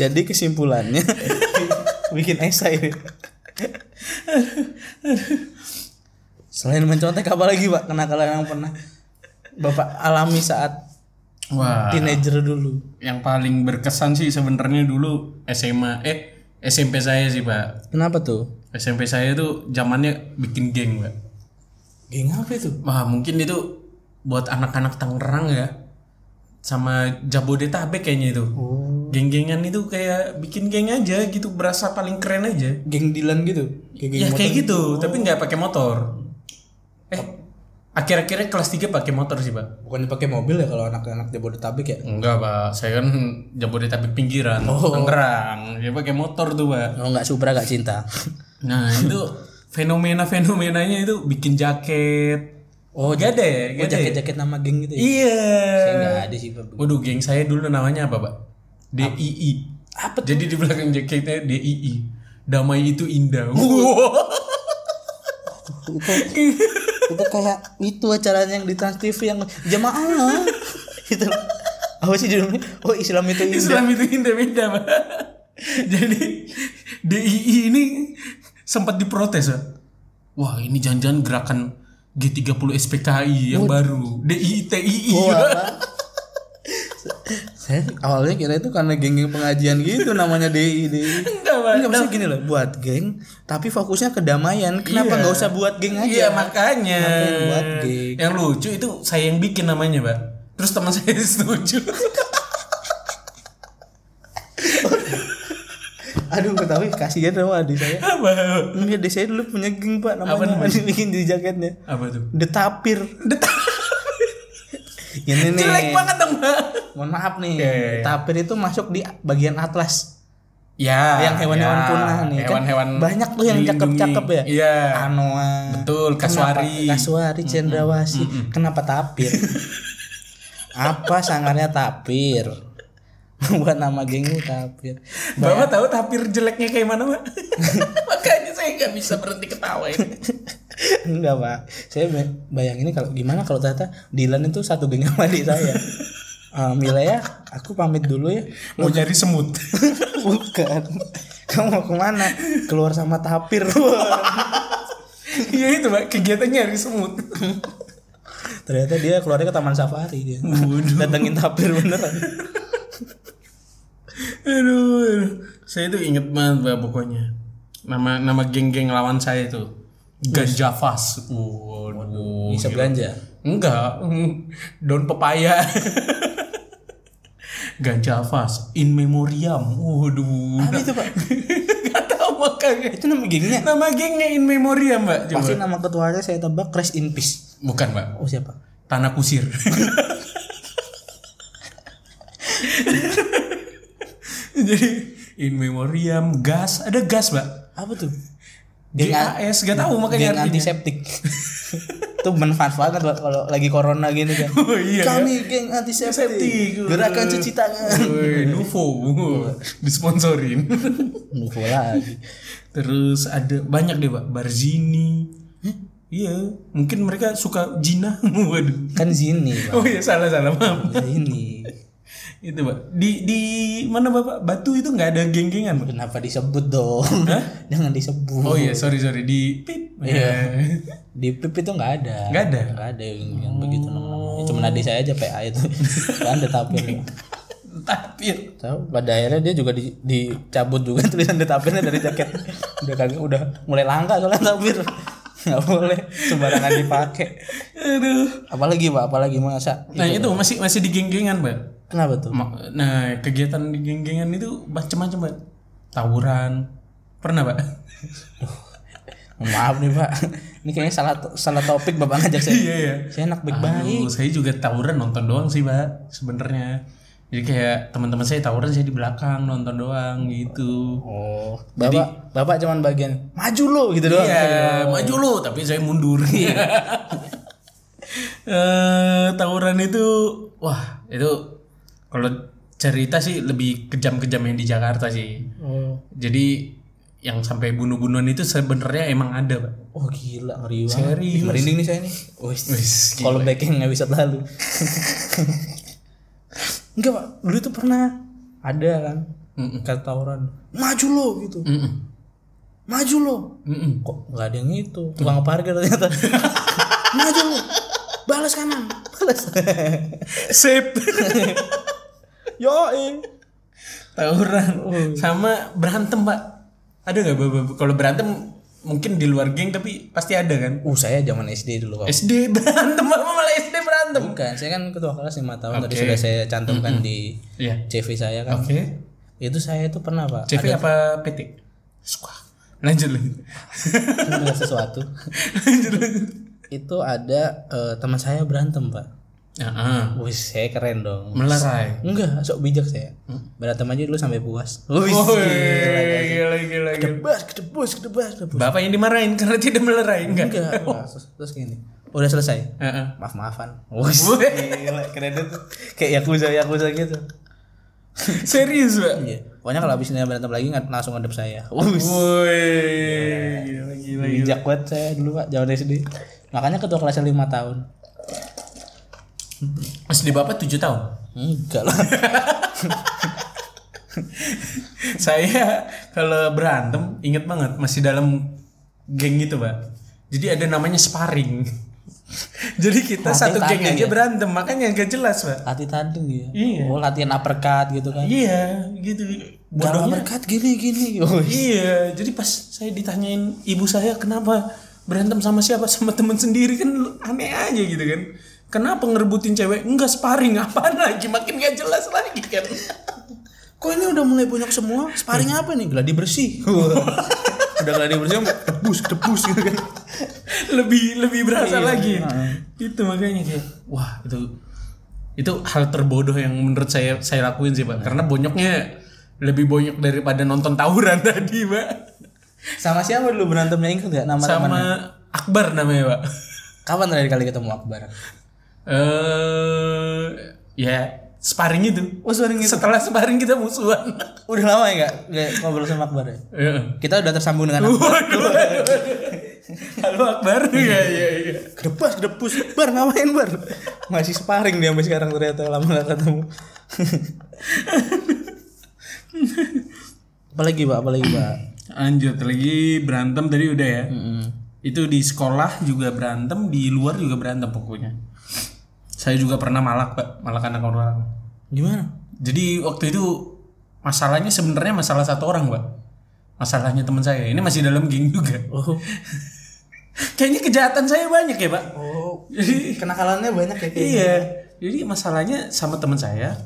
[SPEAKER 2] Iya Jadi kesimpulannya [LAUGHS] Bikin esai Selain mencontek apa lagi pak kenakalan yang pernah Bapak alami saat
[SPEAKER 1] wah
[SPEAKER 2] teenager dulu
[SPEAKER 1] yang paling berkesan sih sebenarnya dulu SMA eh SMP saya sih pak
[SPEAKER 2] Kenapa tuh?
[SPEAKER 1] SMP saya tuh zamannya bikin geng pak
[SPEAKER 2] Geng apa itu?
[SPEAKER 1] Wah mungkin itu buat anak-anak Tangerang ya sama Jabodetabek kayaknya itu.
[SPEAKER 2] Oh.
[SPEAKER 1] Geng-gengan itu kayak bikin geng aja gitu berasa paling keren aja.
[SPEAKER 2] Geng Dilan gitu? Kayak geng
[SPEAKER 1] ya
[SPEAKER 2] motor Hmm.
[SPEAKER 1] kayak gitu, tapi nggak pakai motor. Eh akhir-akhirnya kelas 3 pakai motor sih, Pak.
[SPEAKER 2] Bukan pakai mobil ya kalau anak-anak Jabodetabek ya?
[SPEAKER 1] Enggak, Pak. Saya kan Jabodetabek pinggiran,
[SPEAKER 2] Oh.
[SPEAKER 1] Tangerang. Dia pakai motor tuh, Pak.
[SPEAKER 2] Kalau nggak Supra nggak cinta [LAUGHS]
[SPEAKER 1] Nah, itu fenomena-fenomenanya itu bikin jaket.
[SPEAKER 2] Oh,
[SPEAKER 1] Gak ada
[SPEAKER 2] Oh
[SPEAKER 1] ya? Gak ada ya?
[SPEAKER 2] jaket-jaket nama geng gitu ya?
[SPEAKER 1] Iya.
[SPEAKER 2] Saya nggak ada sih Pak
[SPEAKER 1] Waduh, geng saya dulu namanya apa, Pak? DII.
[SPEAKER 2] Apa
[SPEAKER 1] Jadi di belakang jaketnya DII. Damai itu indah.
[SPEAKER 2] Oh,
[SPEAKER 1] Wow.
[SPEAKER 2] itu, itu kayak itu acaranya yang di Trans TV yang jemaah Itu Apa sih judulnya? Oh Islam itu indah
[SPEAKER 1] Islam itu indah beda,
[SPEAKER 2] [LAUGHS]
[SPEAKER 1] Pak. Jadi DII ini sempat diprotes, Pak. Wah, ini jangan-jangan gerakan G30 SPKI yang baru. DII TII.
[SPEAKER 2] Wah, apa? saya awalnya kira itu karena geng-geng pengajian gitu namanya DI DI.
[SPEAKER 1] [LAUGHS] Enggak, Pak.
[SPEAKER 2] Enggak maksudnya gini loh, buat geng tapi fokusnya kedamaian. Kenapa
[SPEAKER 1] Iya.
[SPEAKER 2] nggak usah buat geng aja?
[SPEAKER 1] Iya makanya.
[SPEAKER 2] Ngapain buat gig?
[SPEAKER 1] Yang lucu itu saya yang bikin namanya, Pak. Terus teman [LAUGHS] saya
[SPEAKER 2] [LAUGHS]
[SPEAKER 1] setuju.
[SPEAKER 2] Aduh, ketahui kasihan sama adik saya.
[SPEAKER 1] Apa?
[SPEAKER 2] Ini adik saya dulu punya geng, Pak, namanya.
[SPEAKER 1] Apa namanya?
[SPEAKER 2] Adik [LAUGHS] bikin di jaketnya.
[SPEAKER 1] Apa tuh?
[SPEAKER 2] The Tapir. Ini nih.
[SPEAKER 1] Jelek banget dong, Pak.
[SPEAKER 2] Mohon maaf nih.
[SPEAKER 1] Iya, iya, iya.
[SPEAKER 2] Tapir itu masuk di bagian atlas.
[SPEAKER 1] Ya,
[SPEAKER 2] yang hewan-hewan
[SPEAKER 1] ya.
[SPEAKER 2] punah nih kan
[SPEAKER 1] Hewan-hewan
[SPEAKER 2] banyak tuh yang
[SPEAKER 1] dilindungi.
[SPEAKER 2] cakep-cakep ya
[SPEAKER 1] Iya.
[SPEAKER 2] anoa
[SPEAKER 1] Betul, kasuari.
[SPEAKER 2] kenapa, kasuari cendrawasih kenapa
[SPEAKER 1] [LAUGHS]
[SPEAKER 2] tapir apa sangarnya tapir [LAUGHS] buat nama geng lu tapir
[SPEAKER 1] Bapak tahu tapir jeleknya kayak mana,
[SPEAKER 2] [LAUGHS]
[SPEAKER 1] Pak? Makanya saya nggak bisa berhenti ketawa ini.
[SPEAKER 2] enggak pak saya bay- bayangin kalau gimana kalau ternyata Dilan itu satu geng sama adik
[SPEAKER 1] [LAUGHS]
[SPEAKER 2] saya Eh, Mila ya aku pamit dulu ya
[SPEAKER 1] Mau nyari semut.
[SPEAKER 2] bukan kamu mau kemana keluar sama tapir
[SPEAKER 1] [LAUGHS] Iya itu, Pak. Kegiatannya nyari semut.
[SPEAKER 2] [LAUGHS] Ternyata dia keluarnya ke taman safari dia.
[SPEAKER 1] Waduh.
[SPEAKER 2] Datengin tapir beneran.
[SPEAKER 1] aduh, aduh. Saya itu inget banget, Pak, pokoknya. Nama nama geng-geng lawan saya itu Ganja Fas. Waduh.
[SPEAKER 2] Bisa belanja.
[SPEAKER 1] Enggak, [LAUGHS] mm, daun pepaya. [LAUGHS] Ganja Fas in memoriam. Waduh.
[SPEAKER 2] Apa [LAUGHS] itu, Pak?
[SPEAKER 1] Gak tahu makanya.
[SPEAKER 2] Itu nama gengnya.
[SPEAKER 1] Nama gengnya in memoriam, Mbak. Coba.
[SPEAKER 2] Pasti nama ketuanya saya tebak Crash in Peace.
[SPEAKER 1] Bukan, Mbak.
[SPEAKER 2] Oh siapa?
[SPEAKER 1] Tanah kusir. [LAUGHS] Jadi in memoriam gas, ada gas, Mbak.
[SPEAKER 2] Apa tuh? Geng
[SPEAKER 1] GAS, gak tahu makanya
[SPEAKER 2] Geng
[SPEAKER 1] artinya.
[SPEAKER 2] antiseptik. [LAUGHS] Itu manfaat banget Pak, kalau lagi corona gini kan.
[SPEAKER 1] Oh, iya,
[SPEAKER 2] Kami geng antiseptik.
[SPEAKER 1] Antiseptik.
[SPEAKER 2] Gerakan cuci tangan.
[SPEAKER 1] [LAUGHS] Woi,
[SPEAKER 2] [LAUGHS]
[SPEAKER 1] Nufo. Disponsorin.
[SPEAKER 2] Nufo lagi.
[SPEAKER 1] Terus ada banyak deh, Pak. Barzini. Iya, mungkin mereka suka jinah. [LAUGHS] Waduh.
[SPEAKER 2] Kan Zini, Pak.
[SPEAKER 1] Oh iya, salah-salah, maaf.
[SPEAKER 2] [LAUGHS] Zini.
[SPEAKER 1] itu pak di di mana bapak batu itu nggak ada geng-gengan Pak?
[SPEAKER 2] Kenapa disebut dong? [LAUGHS]
[SPEAKER 1] Hah?
[SPEAKER 2] Jangan disebut.
[SPEAKER 1] oh iya sorry sorry di pip
[SPEAKER 2] Iya. di pip itu nggak ada
[SPEAKER 1] [LAUGHS] Nggak ada?
[SPEAKER 2] nggak ada yang, yang begitu nama-namanya cuma adik saya aja PA
[SPEAKER 1] [LAUGHS]
[SPEAKER 2] itu kan ada tapir
[SPEAKER 1] tapi
[SPEAKER 2] tahu pada akhirnya dia juga di- dicabut juga [LAUGHS] tulisan detapirnya dari jaket udah kagak udah mulai langka soalnya tapir [LAUGHS] nggak boleh sembarangan dipakai
[SPEAKER 1] aduh
[SPEAKER 2] apalagi pak apalagi masa
[SPEAKER 1] nah itu masih masih di geng-gengan pak
[SPEAKER 2] kenapa tuh
[SPEAKER 1] Ma- nah kegiatan di geng-gengan itu macam-macam pak tawuran pernah pak
[SPEAKER 2] maaf nih pak ini kayaknya salah salah topik bapak ngajak saya
[SPEAKER 1] iya iya
[SPEAKER 2] saya anak baik-baik
[SPEAKER 1] Aduh, saya juga tawuran nonton doang sih pak sebenarnya jadi kayak teman-teman saya tawuran saya di belakang nonton doang gitu
[SPEAKER 2] oh bapak bapak cuman bagian maju lo gitu doang
[SPEAKER 1] Iya, maju lu, tapi saya [LAUGHS] mundur. Eh, tawuran itu wah, itu kalau cerita sih lebih kejam-kejam yang di Jakarta sih.
[SPEAKER 2] oh,
[SPEAKER 1] Jadi yang sampai bunuh-bunuhan itu sebenarnya emang ada, Pak. [LAUGHS]
[SPEAKER 2] oh gila ngeri banget
[SPEAKER 1] Serius.
[SPEAKER 2] merinding nih saya nih Wih,
[SPEAKER 1] Wis, gila.
[SPEAKER 2] Kalau backing nggak bisa lalu. Enggak pak, dulu tuh pernah ada kan
[SPEAKER 1] Mm-mm.
[SPEAKER 2] kata tawuran, maju lo gitu,
[SPEAKER 1] Mm-mm.
[SPEAKER 2] maju lo.
[SPEAKER 1] Mm-mm.
[SPEAKER 2] Kok nggak ada yang itu, tukang parkir ternyata.
[SPEAKER 1] [LAUGHS]
[SPEAKER 2] maju lo, balas kanan, [LAUGHS] balas.
[SPEAKER 1] Sip. [LAUGHS]
[SPEAKER 2] Yo,
[SPEAKER 1] tawuran sama berantem, Pak. Ada nggak Bapak? Kalau berantem mungkin di luar geng tapi pasti ada kan?
[SPEAKER 2] uh saya zaman SD
[SPEAKER 1] Oh.
[SPEAKER 2] dulu kok.
[SPEAKER 1] SD berantem, Pak. malah SD berantem.
[SPEAKER 2] Bukan, saya kan ketua kelas lima tahun tadi
[SPEAKER 1] Oke.
[SPEAKER 2] sudah saya cantumkan di
[SPEAKER 1] Iya.
[SPEAKER 2] CV saya kan.
[SPEAKER 1] Oke.
[SPEAKER 2] Itu saya itu pernah pak.
[SPEAKER 1] CV apa PT? Suka. Lanjut lanjut.
[SPEAKER 2] Ada sesuatu.
[SPEAKER 1] lanjut lanjut.
[SPEAKER 2] itu ada eh, teman saya berantem pak.
[SPEAKER 1] Heeh.
[SPEAKER 2] Wih, saya keren dong.
[SPEAKER 1] Melerai.
[SPEAKER 2] Enggak, sok bijak saya.
[SPEAKER 1] Hmm?
[SPEAKER 2] Berantem aja dulu sampai puas. Wih,
[SPEAKER 1] Woi, gila gila gila.
[SPEAKER 2] kedebas, kedebas, kedebas, kedebas.
[SPEAKER 1] Bapak yang dimarahin karena tidak melerai enggak?
[SPEAKER 2] Enggak, enggak. Terus, terus gini. Udah selesai.
[SPEAKER 1] Heeh.
[SPEAKER 2] Maaf-maafan. Wih,
[SPEAKER 1] Wih.
[SPEAKER 2] gila, keren itu. Kayak yakuza, yakuza gitu.
[SPEAKER 1] [LAUGHS] Serius, Pak.
[SPEAKER 2] Iya. Pokoknya kalau habis ini berantem lagi nggak langsung ngadep saya. Wih,
[SPEAKER 1] Woi. Gila gila. gila.
[SPEAKER 2] bijak banget saya dulu Pak, zaman SD. Makanya ketua kelasnya 5 tahun.
[SPEAKER 1] Mas di Bapak 7 tahun.
[SPEAKER 2] Enggak lah.
[SPEAKER 1] [LAUGHS] Saya kalau berantem inget banget masih dalam geng gitu, Pak. Jadi ada namanya sparring. [LAUGHS] Jadi kita
[SPEAKER 2] Latihan
[SPEAKER 1] satu geng
[SPEAKER 2] tanding
[SPEAKER 1] aja
[SPEAKER 2] ya?
[SPEAKER 1] berantem, makanya gak jelas, Pak.
[SPEAKER 2] Latih tanding ya.
[SPEAKER 1] Iya.
[SPEAKER 2] Oh, latihan uppercut gitu kan.
[SPEAKER 1] Iya, gitu.
[SPEAKER 2] Kalau
[SPEAKER 1] Bodohnya.
[SPEAKER 2] uppercut gini gini. Oh,
[SPEAKER 1] Iya, jadi pas saya ditanyain ibu saya kenapa berantem sama siapa sama teman sendiri kan lu- aneh aja gitu kan. Kenapa ngerebutin cewek? Enggak sparring apaan lagi makin gak jelas lagi kan.
[SPEAKER 2] Kok ini udah mulai banyak semua? Sparring apa nih? Gladi
[SPEAKER 1] [LAUGHS]
[SPEAKER 2] bersih. udah gladi bersih, tebus, tebus gitu kan.
[SPEAKER 1] lebih lebih
[SPEAKER 2] Iya,
[SPEAKER 1] berasa lagi.
[SPEAKER 2] heeh.
[SPEAKER 1] Itu makanya kayak wah itu itu hal terbodoh yang menurut saya saya lakuin sih, Pak. Karena bonyoknya lebih bonyok daripada nonton tawuran [LAUGHS] tadi, Pak.
[SPEAKER 2] [LAUGHS] Sama siapa dulu berantemnya ingat nggak nama
[SPEAKER 1] Sama
[SPEAKER 2] temannya?
[SPEAKER 1] Akbar namanya, Pak.
[SPEAKER 2] Kapan terakhir kali ketemu Akbar?
[SPEAKER 1] Eh ya sparring itu.
[SPEAKER 2] Oh, sparring itu.
[SPEAKER 1] Setelah sparring kita musuhan.
[SPEAKER 2] Udah lama ya nggak nggak ngobrol sama Akbar ya?
[SPEAKER 1] [LAUGHS] Iya.
[SPEAKER 2] Kita udah tersambung dengan Akbar.
[SPEAKER 1] Waduh, waduh, waduh. Halo Akbar. Iya, iya, iya.
[SPEAKER 2] Gedebas, gedebus, bar ngapain bar? Masih sparring dia sampai sekarang ternyata lama nggak ketemu. [LAUGHS] apalagi pak, apalagi pak.
[SPEAKER 1] Lanjut lagi berantem tadi udah ya. Itu di sekolah juga berantem, di luar juga berantem pokoknya. Saya juga pernah malak, Pak. Malak anak orang.
[SPEAKER 2] Gimana?
[SPEAKER 1] Jadi waktu itu masalahnya sebenarnya masalah satu orang, Pak. Masalahnya teman saya. Ini masih dalam geng juga.
[SPEAKER 2] Oh,
[SPEAKER 1] [LAUGHS] Kayaknya kejahatan saya banyak ya, Pak.
[SPEAKER 2] oh,
[SPEAKER 1] Jadi
[SPEAKER 2] kenakalannya banyak ya. kayaknya.
[SPEAKER 1] Iya. Jadi masalahnya sama teman saya,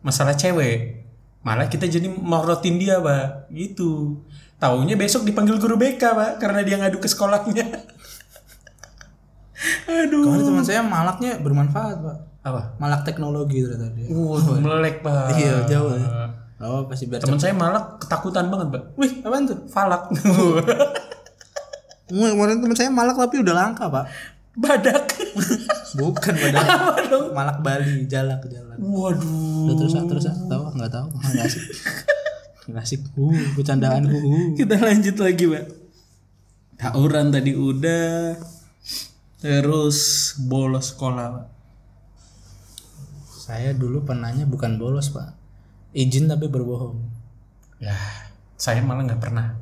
[SPEAKER 1] masalah cewek. Malah kita jadi morotin dia, Pak. Gitu. Taunya besok dipanggil guru BK, Pak, karena dia ngadu ke sekolahnya. [LAUGHS] Aduh.
[SPEAKER 2] Kemarin teman saya malaknya bermanfaat pak.
[SPEAKER 1] Apa?
[SPEAKER 2] Malak teknologi ternyata dia.
[SPEAKER 1] Wah, melek, Pak.
[SPEAKER 2] Iya, jauh ya. Oh, pasti biar.
[SPEAKER 1] Teman saya malah ketakutan banget, Pak.
[SPEAKER 2] Wih, apaan tuh?
[SPEAKER 1] Falak. [LAUGHS]
[SPEAKER 2] Wah, Kemarin teman saya malak tapi udah langka pak.
[SPEAKER 1] Badak. [LAUGHS]
[SPEAKER 2] [LAUGHS] Bukan padahal. malak Bali, jalak, jalak.
[SPEAKER 1] Waduh.
[SPEAKER 2] Udah terus ah, terus ah, tahu ah, nggak tahu, Ah, nggak asik, nggak asik. Uh, bercandaanku. Uh.
[SPEAKER 1] Kita lanjut lagi, Pak. Tawuran tadi udah. Terus bolos sekolah, Pak.
[SPEAKER 2] Saya dulu pernahnya bukan bolos pak, izin tapi berbohong.
[SPEAKER 1] Ya, saya malah nggak pernah.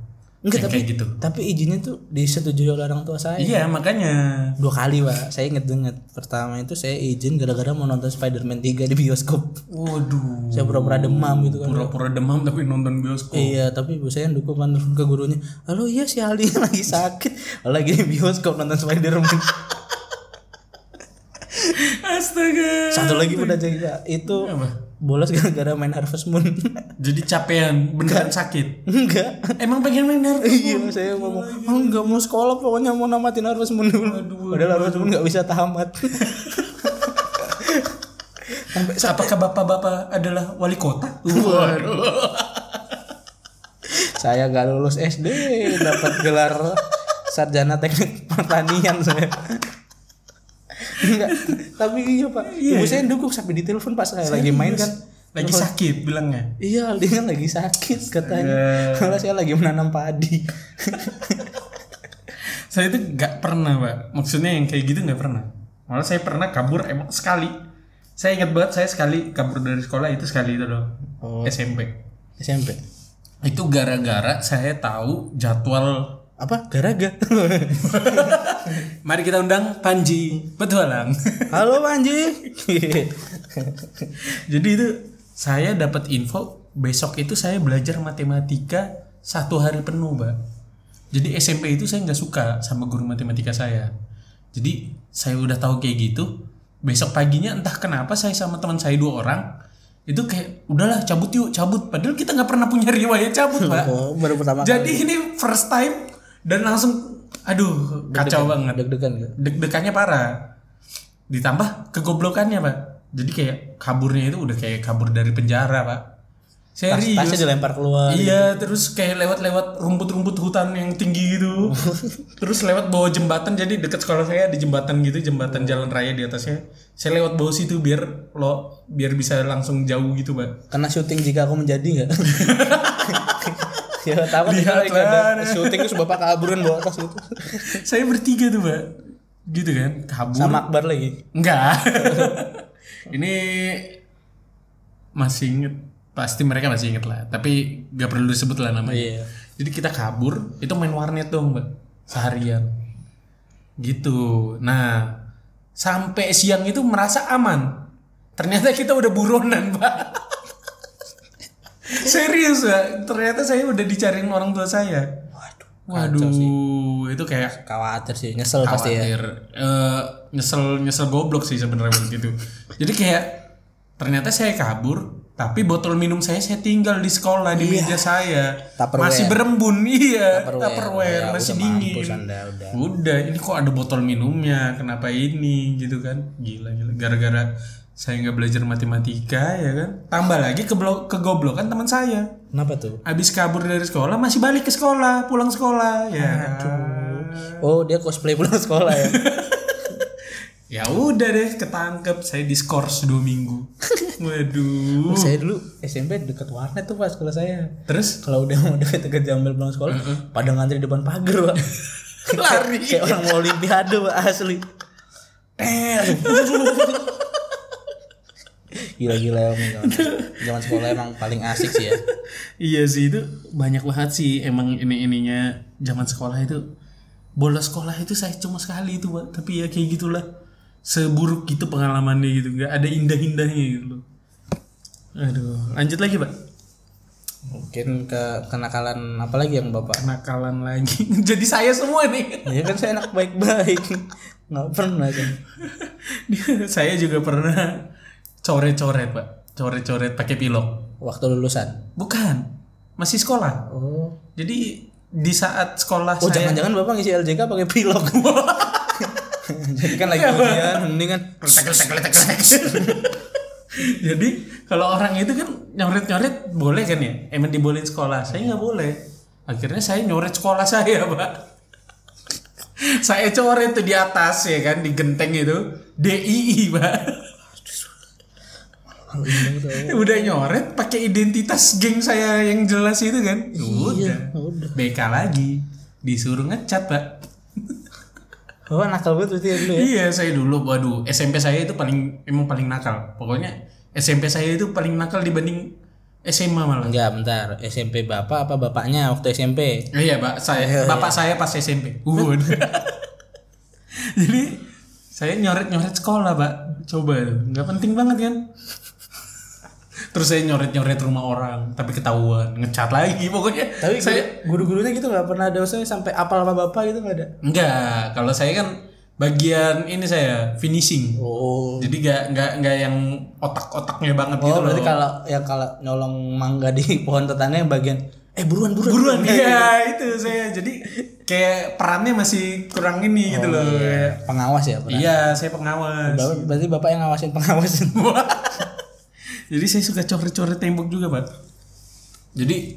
[SPEAKER 2] Enggak,
[SPEAKER 1] Yang
[SPEAKER 2] tapi-
[SPEAKER 1] kayak gitu.
[SPEAKER 2] Tapi izinnya tuh disetujui oleh orang tua saya.
[SPEAKER 1] Iya, makanya.
[SPEAKER 2] Dua kali pak, saya inget banget. Pertama itu saya izin gara-gara mau nonton Spider-Man 3 di bioskop.
[SPEAKER 1] Waduh. Eh,
[SPEAKER 2] Saya pura-pura demam gitu kan.
[SPEAKER 1] Pura-pura demam tapi nonton bioskop.
[SPEAKER 2] Iya, tapi ibu saya dukung kan ke gurunya. Halo, iya si Ali [LAUGHS] lagi sakit, lagi di bioskop nonton [LAUGHS] Spider-Man.
[SPEAKER 1] Astaga.
[SPEAKER 2] Satu lagi udah jadi Pak. itu
[SPEAKER 1] Apa?
[SPEAKER 2] bolos gara-gara main Harvest Moon. [LAUGHS]
[SPEAKER 1] Jadi capean, beneran sakit. Eh,
[SPEAKER 2] Enggak.
[SPEAKER 1] Emang pengen main Naruto?
[SPEAKER 2] Iya, saya ngomong, oh, nggak mau sekolah pokoknya mau namatin harus Moon dulu. Padahal harus Moon nggak bisa [LAUGHS] tamat.
[SPEAKER 1] Apakah bapak-bapak adalah wali kota? Waduh.
[SPEAKER 2] saya nggak lulus SD, dapat gelar sarjana teknik pertanian saya. [LAUGHS] Enggak, tapi iya pak. Ibu saya dukung sampai ditelepon pas saya lagi main kan.
[SPEAKER 1] Lagi sakit bilangnya.
[SPEAKER 2] Iya, Aldi kan lagi sakit katanya.
[SPEAKER 1] Astaga.
[SPEAKER 2] Kalau saya lagi menanam
[SPEAKER 1] [LAUGHS]
[SPEAKER 2] padi.
[SPEAKER 1] Saya itu nggak pernah, Pak. Maksudnya yang kayak gitu nggak pernah. Malah saya pernah kabur emang sekali. Saya ingat banget saya sekali kabur dari sekolah itu sekali itu loh. SMP.
[SPEAKER 2] SMP.
[SPEAKER 1] itu gara-gara saya tahu jadwal
[SPEAKER 2] Apa? Garaga.
[SPEAKER 1] mari kita undang Panji petualang [LAUGHS]
[SPEAKER 2] Halo Panji.
[SPEAKER 1] jadi itu saya dapat info besok itu saya belajar matematika satu hari penuh mbak jadi SMP itu saya nggak suka sama guru matematika saya jadi saya udah tahu kayak gitu besok paginya entah kenapa saya sama teman saya dua orang itu kayak udahlah cabut yuk cabut padahal kita nggak pernah punya riwayat cabut
[SPEAKER 2] [LAUGHS]
[SPEAKER 1] pak
[SPEAKER 2] oh, baru pertama
[SPEAKER 1] Jadi ini first time dan langsung aduh kacau banget.
[SPEAKER 2] kali deg-degan gitu.
[SPEAKER 1] Deg-degannya parah. Ditambah kegoblokannya, Pak. Jadi kayak kaburnya itu udah kayak kabur dari penjara, Pak.
[SPEAKER 2] Tas
[SPEAKER 1] Serius.
[SPEAKER 2] tasnya dilempar keluar.
[SPEAKER 1] Iya, terus kayak lewat-lewat rumput-rumput hutan yang tinggi gitu. terus lewat bawah jembatan, jadi dekat sekolah saya ada jembatan gitu, jembatan jalan raya di atasnya. Saya lewat bawah situ biar lo biar bisa langsung jauh gitu, Pak. [LAUGHS]
[SPEAKER 2] Kena syuting jika aku menjadi enggak? ya tahu kan itu lagi
[SPEAKER 1] Lihatlah.
[SPEAKER 2] ada syuting terus bapak kaburin bawa tas gitu.
[SPEAKER 1] saya bertiga tuh, Pak. Gitu kan, kabur.
[SPEAKER 2] Sama Akbar lagi.
[SPEAKER 1] Enggak. [LAUGHS] ini masih inget. Pasti mereka masih inget lah. Tapi gak perlu disebut lah namanya.
[SPEAKER 2] Iya.
[SPEAKER 1] Jadi kita kabur, itu main warnet dong, Mbak. Seharian. Gitu. Nah, sampai siang itu merasa aman. Ternyata kita udah buronan, Pak. [LAUGHS] Serius, Pak. Ternyata saya udah dicariin orang tua saya.
[SPEAKER 2] Waduh.
[SPEAKER 1] Waduh, itu kayak
[SPEAKER 2] Khawatir sih, nyesel pasti ya.
[SPEAKER 1] khawatir Eh, nyesel nyesel goblok sih sebenarnya waktu itu jadi kayak ternyata saya kabur tapi botol minum saya saya tinggal di sekolah di meja saya
[SPEAKER 2] Iya. Tupperware.
[SPEAKER 1] masih berembun [LAUGHS] iya
[SPEAKER 2] Tupperware.
[SPEAKER 1] tupperware,
[SPEAKER 2] Ya,
[SPEAKER 1] masih
[SPEAKER 2] udah
[SPEAKER 1] dingin
[SPEAKER 2] mampus Anda, udah.
[SPEAKER 1] Udah, ini kok ada botol minumnya kenapa ini gitu kan gila gila gara-gara saya nggak belajar matematika ya kan tambah lagi keblo- kegoblokan teman saya
[SPEAKER 2] Kenapa tuh?
[SPEAKER 1] habis kabur dari sekolah masih balik ke sekolah pulang
[SPEAKER 2] Ah,
[SPEAKER 1] sekolah ya
[SPEAKER 2] Oh, dia cosplay pulang [LAUGHS] sekolah ya.
[SPEAKER 1] Ya udah deh ketangkep saya diskors dua minggu. [LAUGHS] Waduh.
[SPEAKER 2] saya dulu SMP deket warnet tuh pas sekolah saya.
[SPEAKER 1] Terus
[SPEAKER 2] Kalau udah mau deket-deket jambel pulang sekolah, pada ngantri depan pagar, Pak. [LAUGHS] Lari. [LAUGHS] Kayak orang mau olimpiade, Pak, asli. [LAUGHS] Eh. Gila-gila emang zaman- zaman sekolah emang paling asik sih ya.
[SPEAKER 1] iya sih itu banyak banget sih emang ini ininya zaman sekolah itu bolos sekolah itu saya cuma sekali itu Pak. tapi ya kayak gitulah seburuk gitu pengalamannya gitu nggak ada indah-indahnya gitu loh. Aduh, lanjut lagi pak.
[SPEAKER 2] Mungkin ke kenakalan apa lagi yang Bapak?
[SPEAKER 1] Kenakalan lagi. [LAUGHS] Jadi saya semua nih. [LAUGHS]
[SPEAKER 2] Ya kan saya enak baik-baik. Nggak pernah kan.
[SPEAKER 1] saya juga pernah coret-coret pak, coret-coret pakai pilok.
[SPEAKER 2] Waktu lulusan.
[SPEAKER 1] Bukan, masih sekolah.
[SPEAKER 2] Oh.
[SPEAKER 1] Jadi di saat sekolah
[SPEAKER 2] Oh
[SPEAKER 1] saya
[SPEAKER 2] jangan-jangan bapak ngisi LJK pakai pilok [LAUGHS] Jadi kan lagi ujian mending kan
[SPEAKER 1] [LAUGHS] Jadi kalau orang itu kan nyoret-nyoret boleh kan ya? Emang dibolehin sekolah. Saya nggak boleh. Akhirnya saya nyoret sekolah [LAUGHS] saya, Pak. saya coret tuh di atas ya kan di genteng itu DII, Pak. Udah nyoret pakai identitas geng saya yang jelas itu kan. Udah.
[SPEAKER 2] udah.
[SPEAKER 1] BK lagi. Disuruh ngecat, Pak.
[SPEAKER 2] Bapak nakal banget berarti ya dulu ya
[SPEAKER 1] Iya saya dulu, waduh SMP saya itu paling emang paling nakal. Pokoknya SMP saya itu paling nakal dibanding SMA malah.
[SPEAKER 2] Enggak bentar SMP bapak apa bapaknya waktu SMP
[SPEAKER 1] Eh, Iya, Pak. Saya bapak saya pas SMP. Waduh.
[SPEAKER 2] [LAUGHS]
[SPEAKER 1] Jadi saya nyoret-nyoret sekolah, Pak. Coba itu. Nggak penting banget kan? Terus saya nyoret-nyoret rumah orang, tapi ketahuan, ngecat lagi pokoknya.
[SPEAKER 2] Tapi
[SPEAKER 1] saya
[SPEAKER 2] guru-gurunya gitu gak pernah ada usah sampai apal sama bapak gitu gak ada
[SPEAKER 1] enggak, kalau saya kan bagian ini saya finishing.
[SPEAKER 2] Oh
[SPEAKER 1] Jadi nggak nggak nggak yang otak-otaknya banget
[SPEAKER 2] Oh
[SPEAKER 1] gitu loh.
[SPEAKER 2] berarti kalau yang kalau nyolong mangga di [LAUGHS] pohon tetangga yang bagian Eh buruan buruan
[SPEAKER 1] buruan iya itu saya jadi kayak perannya masih kurang ini gitu loh kayak-
[SPEAKER 2] Pengawas ya pernah
[SPEAKER 1] iya saya pengawas
[SPEAKER 2] Bapak- Berarti bapak yang ngawasin pengawasan
[SPEAKER 1] [LAUGHS] jadi saya suka coret-coret tembok juga pak jadi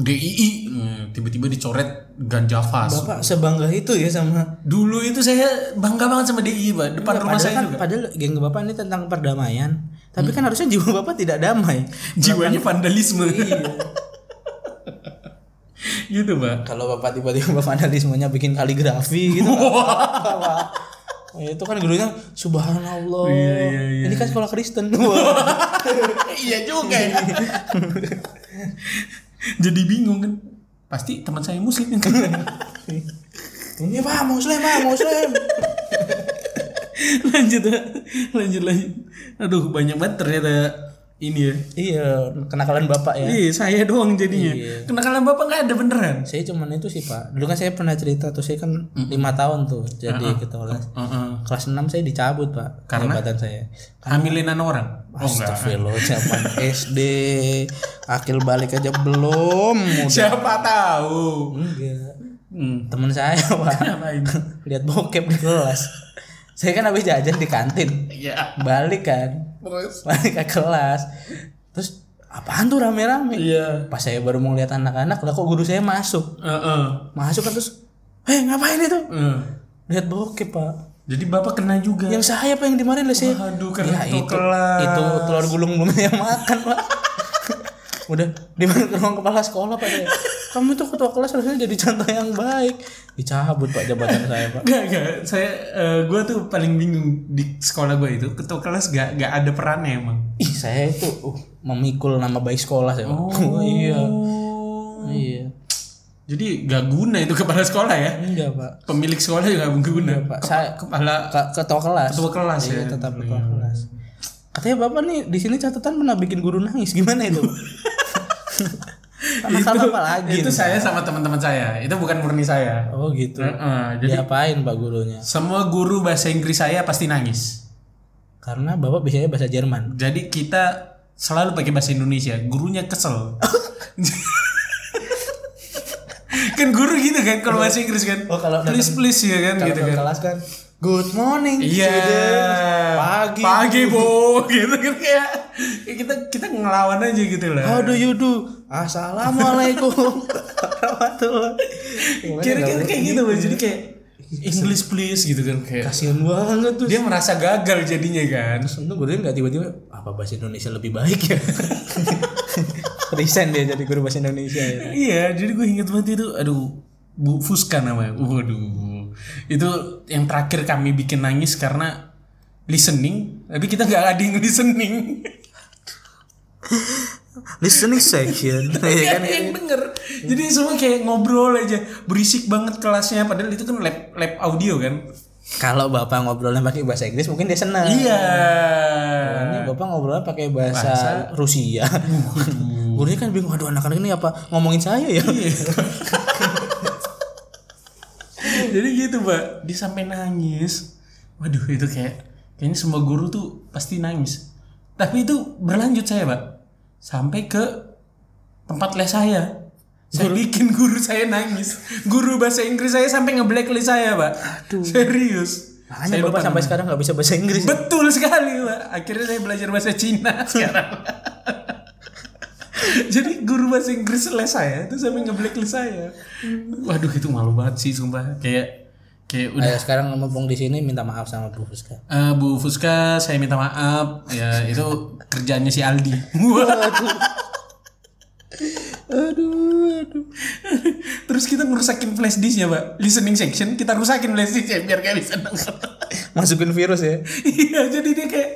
[SPEAKER 1] DII hmm, tiba-tiba dicoret ganja fas
[SPEAKER 2] Bapak sebangga itu ya sama
[SPEAKER 1] dulu itu saya bangga banget sama DII pak depan rumah
[SPEAKER 2] padahal
[SPEAKER 1] saya
[SPEAKER 2] kan,
[SPEAKER 1] juga
[SPEAKER 2] Padahal geng bapak ini tentang perdamaian. Tapi kan harusnya jiwa bapak tidak damai.
[SPEAKER 1] [LAUGHS] jiwanya vandalisme [LAUGHS]
[SPEAKER 2] Iya.
[SPEAKER 1] gitu pak
[SPEAKER 2] Kalau bapak tiba-tiba [LAUGHS] vandalismenya bikin kaligrafi
[SPEAKER 1] [LAUGHS]
[SPEAKER 2] gitu. Wah. itu kan gurunya subhanallah.
[SPEAKER 1] iya, iya.
[SPEAKER 2] Ini kan sekolah Kristen. [LAUGHS] Wah.
[SPEAKER 1] iya juga ya. [LAUGHS] jadi bingung kan pasti teman saya [LAUGHS] muslim
[SPEAKER 2] ini Pak muslim, Pak
[SPEAKER 1] [LAUGHS]
[SPEAKER 2] muslim.
[SPEAKER 1] lanjut Pak. lanjut lanjut aduh banyak banget ternyata ini ya
[SPEAKER 2] iya, kenakalan bapak ya.
[SPEAKER 1] Iya, saya doang jadinya. Kenakalan bapak nggak ada beneran.
[SPEAKER 2] Saya cuman itu sih Pak. Dulu kan saya pernah cerita tuh saya kan lima tahun tuh jadi ketua kelas.
[SPEAKER 1] Heeh.
[SPEAKER 2] Kelas 6 saya dicabut Pak
[SPEAKER 1] Karena?
[SPEAKER 2] jabatan saya.
[SPEAKER 1] Hamilin anak orang. Oh enggak.
[SPEAKER 2] Astagfirullah zaman [LAUGHS] SD akil balik aja belum udah
[SPEAKER 1] [LAUGHS] Siapa tahu.
[SPEAKER 2] enggak
[SPEAKER 1] Hmm.
[SPEAKER 2] Iya. temen saya [LAUGHS] pak
[SPEAKER 1] Apa ini?
[SPEAKER 2] lihat bokep di kelas saya kan habis jajan di kantin
[SPEAKER 1] Iya.
[SPEAKER 2] balik kan
[SPEAKER 1] Terus.
[SPEAKER 2] balik ke kelas terus apaan tuh rame-rame
[SPEAKER 1] Iya.
[SPEAKER 2] pas saya baru mau lihat anak-anak lah kok guru saya masuk
[SPEAKER 1] Heeh.
[SPEAKER 2] masuk kan terus eh ngapain itu
[SPEAKER 1] Eh.
[SPEAKER 2] lihat bokep pak
[SPEAKER 1] Jadi bapak kena juga.
[SPEAKER 2] yang saya apa yang dimarahin lah saya
[SPEAKER 1] Aduh, karena
[SPEAKER 2] itu,
[SPEAKER 1] itu, kelas.
[SPEAKER 2] itu telur gulung belum yang makan pak [LAUGHS] udah dimana ke ruang kepala sekolah pak saya kamu tuh ketua kelas harusnya jadi contoh yang baik dicabut pak jabatan saya pak
[SPEAKER 1] Gak, gak. Saya, gue tuh paling bingung di sekolah gue itu ketua kelas gak, gak ada perannya emang.
[SPEAKER 2] ih saya itu [LAUGHS] uh,
[SPEAKER 1] Oh.
[SPEAKER 2] memikul nama baik sekolah saya pak. iya iya
[SPEAKER 1] Jadi gak guna itu kepala sekolah ya.
[SPEAKER 2] Enggak, Pak.
[SPEAKER 1] Pemilik sekolah juga gak guna.
[SPEAKER 2] Pak.
[SPEAKER 1] Kepa-
[SPEAKER 2] Saya-
[SPEAKER 1] kepala
[SPEAKER 2] Ke- ketua kelas.
[SPEAKER 1] ketua kelas
[SPEAKER 2] Iya,
[SPEAKER 1] ya.
[SPEAKER 2] tetap ketua kelas. Katanya Bapak nih di sini catatan pernah bikin guru nangis. Gimana
[SPEAKER 1] [LAUGHS]
[SPEAKER 2] itu? Masalah apa lagi?
[SPEAKER 1] itu
[SPEAKER 2] nih?
[SPEAKER 1] saya sama teman-teman saya. Itu bukan murni saya.
[SPEAKER 2] Oh, gitu.
[SPEAKER 1] Heeh, jadi
[SPEAKER 2] Diapain Pak gurunya?
[SPEAKER 1] Ya, semua guru bahasa Inggris saya pasti nangis.
[SPEAKER 2] Karena Bapak biasanya bahasa Jerman.
[SPEAKER 1] Jadi kita selalu pakai bahasa Indonesia. Gurunya kesel. [LAUGHS] kan guru gitu kan kalau bahasa Inggris kan.
[SPEAKER 2] Oh, kalau datang-
[SPEAKER 1] please please ya kan
[SPEAKER 2] Kalau
[SPEAKER 1] gitu kan.
[SPEAKER 2] kelas kan, good morning.
[SPEAKER 1] Iya.
[SPEAKER 2] students. Pagi.
[SPEAKER 1] Pagi, Bu. [LAUGHS] Gitu kan kayak kayak kita kita ngelawan aja gitu lah.
[SPEAKER 2] How do you do? Assalamualaikum. [LAUGHS] Warahmatullah.
[SPEAKER 1] Kira-kira kayak gitu loh. Jadi kayak English please gitu kan kayak.
[SPEAKER 2] Kasian banget tuh.
[SPEAKER 1] Dia merasa gagal jadinya kan.
[SPEAKER 2] Tentu gurunya nggak tiba-tiba apa bahasa Indonesia lebih baik ya. [LAUGHS] Resign dia jadi guru bahasa Indonesia ya.
[SPEAKER 1] Iya, jadi gue inget banget itu, aduh, Bu Fuska namanya. Waduh, itu yang terakhir kami bikin nangis karena listening, tapi kita nggak ada yang listening.
[SPEAKER 2] Listening section. [LAUGHS] Iya
[SPEAKER 1] Nggak
[SPEAKER 2] kan?
[SPEAKER 1] ada [LAUGHS] yang denger. Jadi semua kayak ngobrol aja, berisik banget kelasnya. Padahal itu kan lab lab audio kan.
[SPEAKER 2] Kalau bapak ngobrolnya pakai bahasa Inggris mungkin dia senang.
[SPEAKER 1] Iya.
[SPEAKER 2] Ini bapak ngobrolnya pakai bahasa, Rusia. Gurunya kan bingung, aduh anak-anak ini apa ngomongin saya ya?
[SPEAKER 1] [LAUGHS] Jadi gitu, Pak. Dia sampai nangis. Waduh, itu kayak kayaknya semua guru tuh pasti nangis. Tapi itu berlanjut saya, Pak. Sampai ke tempat les saya. Saya bikin guru saya nangis. Guru bahasa Inggris saya sampai ngeblacklist saya, Pak. Serius.
[SPEAKER 2] Makanya
[SPEAKER 1] Saya
[SPEAKER 2] bapak
[SPEAKER 1] lupa
[SPEAKER 2] sampai
[SPEAKER 1] namanya.
[SPEAKER 2] sekarang nggak bisa bahasa Inggris.
[SPEAKER 1] Betul sekali, Pak. Akhirnya saya belajar bahasa Cina [LAUGHS] sekarang. Jadi guru bahasa Inggris les saya itu sampai ngeblacklist saya. Waduh, itu malu banget sih sumpah. Kayak kayak udah
[SPEAKER 2] Ayo sekarang mumpung di sini minta maaf sama Bu Fuska.
[SPEAKER 1] "Eh, Bu Fuska, saya minta maaf. Ya, itu kerjaannya si Aldi.
[SPEAKER 2] Aduh, aduh.
[SPEAKER 1] Terus kita ngerusakin flash disknya, Pak. Listening section kita rusakin flash disknya biar gak bisa denger.
[SPEAKER 2] Masukin virus ya.
[SPEAKER 1] Iya, jadi dia kayak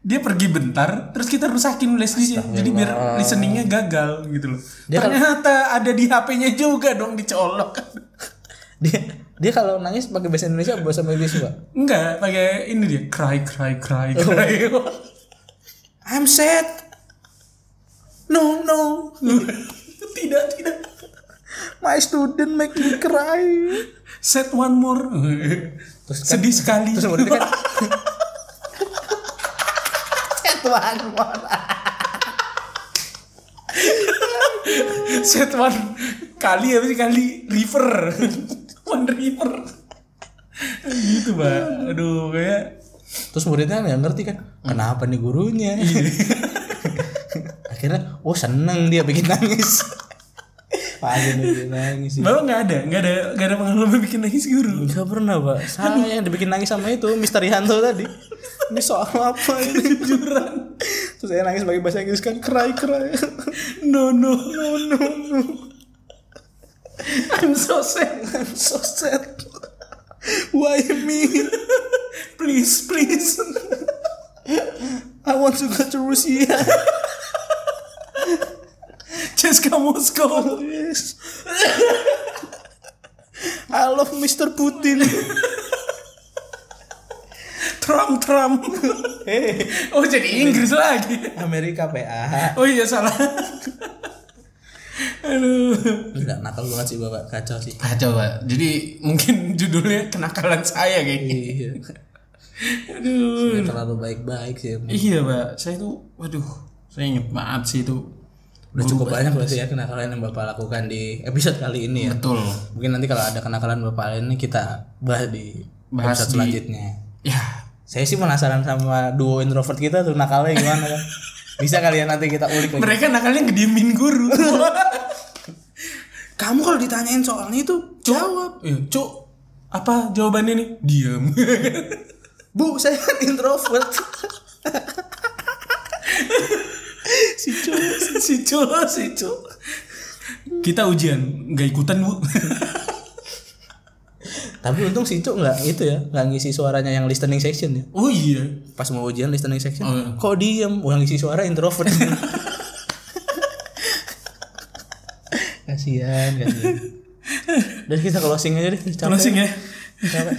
[SPEAKER 1] dia pergi bentar, terus kita rusakin les di Jadi biar listeningnya gagal gitu loh.
[SPEAKER 2] Dia kan- kalau-
[SPEAKER 1] Ternyata ada di HP-nya juga dong dicolok. [LAUGHS]
[SPEAKER 2] Dia dia kalau nangis pakai bahasa Indonesia apa bahasa Inggris, Pak?
[SPEAKER 1] Enggak, pakai ini dia cry cry cry cry.
[SPEAKER 2] I'm sad. No, no.
[SPEAKER 1] tidak, tidak.
[SPEAKER 2] My student make me cry.
[SPEAKER 1] Set one more.
[SPEAKER 2] Terus kan-
[SPEAKER 1] Sedih sekali.
[SPEAKER 2] Terus kemudian [LAUGHS] kan Sad one more.
[SPEAKER 1] Set one kali apa sih kali river. [LAUGHS] one river. gitu, Pak. Aduh, kayak
[SPEAKER 2] Terus muridnya nggak ngerti kan Kenapa nih gurunya [LAUGHS] Akhirnya Oh seneng dia bikin nangis Pasti dia bikin nangis sih.
[SPEAKER 1] Bapak nggak ada, nggak ada, nggak ada pengalaman bikin nangis gitu guru.
[SPEAKER 2] Gak pernah pak Saya yang dibikin nangis sama itu Mister Rihanto tadi Ini soal apa ini
[SPEAKER 1] Juran.
[SPEAKER 2] Terus saya nangis pakai bahasa Inggris kan Cry cry
[SPEAKER 1] No no no no no. I'm so sad.
[SPEAKER 2] I'm so sad Kan Why me
[SPEAKER 1] Please please.
[SPEAKER 2] I want to go to Russia
[SPEAKER 1] Just come Moscow.
[SPEAKER 2] Yes I love Mr. Putin
[SPEAKER 1] Trump Trump.
[SPEAKER 2] Hey
[SPEAKER 1] Oh jadi Inggris lagi.
[SPEAKER 2] Amerika PA
[SPEAKER 1] Oh iya salah. Aduh.
[SPEAKER 2] Enggak nakal banget sih bapak Kacau sih
[SPEAKER 1] Kacau pak. Jadi mungkin judulnya kenakalan saya kayaknya.
[SPEAKER 2] Iya
[SPEAKER 1] Aduh.
[SPEAKER 2] Nggak terlalu baik-baik sih
[SPEAKER 1] Iya pak. Saya tuh, waduh. Saya inget banget sih itu.
[SPEAKER 2] Udah cukup banyak berarti ya kenakalan yang bapak lakukan di episode kali ini ya
[SPEAKER 1] Betul.
[SPEAKER 2] Mungkin nanti kalau ada kenakalan bapak lain ini kita bahas di
[SPEAKER 1] Bahas
[SPEAKER 2] episode
[SPEAKER 1] di-
[SPEAKER 2] selanjutnya.
[SPEAKER 1] Ya.
[SPEAKER 2] Saya sih penasaran sama duo introvert kita tuh nakalnya gimana kan. Bisa kalian nanti kita ulik lagi.
[SPEAKER 1] Mereka nakalnya ngediemin guru.
[SPEAKER 2] [LAUGHS] Kamu kalau ditanyain soalnya itu jawab,
[SPEAKER 1] Iya, Cuk, apa jawabannya nih? Diam.
[SPEAKER 2] "Bu, saya kan introvert."
[SPEAKER 1] si Cuk, si Cuk, si Cuk. Kita ujian, nggak ikutan bu. [LAUGHS]
[SPEAKER 2] Tapi untung si Cuk nggak itu ya, nggak ngisi suaranya yang listening section ya.
[SPEAKER 1] oh iya.
[SPEAKER 2] Pas mau ujian listening section,
[SPEAKER 1] Oh, iya.
[SPEAKER 2] kok diem? Uang ngisi suara introvert. kasihan, kasihan. Udah kita closing aja deh. Capek.
[SPEAKER 1] Closing ya.
[SPEAKER 2] Capek.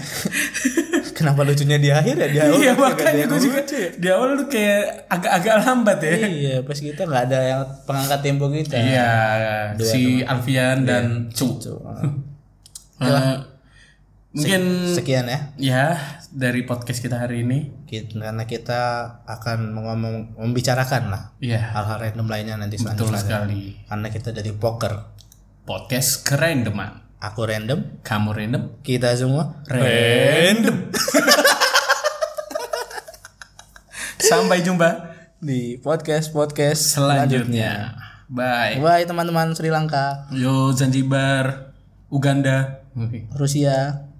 [SPEAKER 2] Kenapa lucunya di akhir ya? Di awal
[SPEAKER 1] Iya
[SPEAKER 2] kagak ada
[SPEAKER 1] makanya
[SPEAKER 2] yang
[SPEAKER 1] gue juga
[SPEAKER 2] lucu ya.
[SPEAKER 1] di awal tuh kayak agak-agak lambat ya.
[SPEAKER 2] Iya, pas kita nggak ada yang pengangkat tempo kita.
[SPEAKER 1] Iya, si Alfian dan Iya. Cu.
[SPEAKER 2] Gitu.
[SPEAKER 1] Eh, mungkin
[SPEAKER 2] Sekian ya.
[SPEAKER 1] ya dari podcast kita hari ini.
[SPEAKER 2] Kita, karena kita akan mengomong membicarakan lah
[SPEAKER 1] Iya,
[SPEAKER 2] hal-hal random lainnya nanti
[SPEAKER 1] betul
[SPEAKER 2] selanjutnya.
[SPEAKER 1] sekali.
[SPEAKER 2] Karena kita dari poker.
[SPEAKER 1] Podcast keren teman.
[SPEAKER 2] Aku random,
[SPEAKER 1] Kamu random?
[SPEAKER 2] kita semua
[SPEAKER 1] Random. [LAUGHS] Sampai jumpa
[SPEAKER 2] di podcast podcast
[SPEAKER 1] selanjutnya. Bye.
[SPEAKER 2] Bye teman-teman Sri Lanka,
[SPEAKER 1] Yo Zanzibar, Uganda.
[SPEAKER 2] Rusia.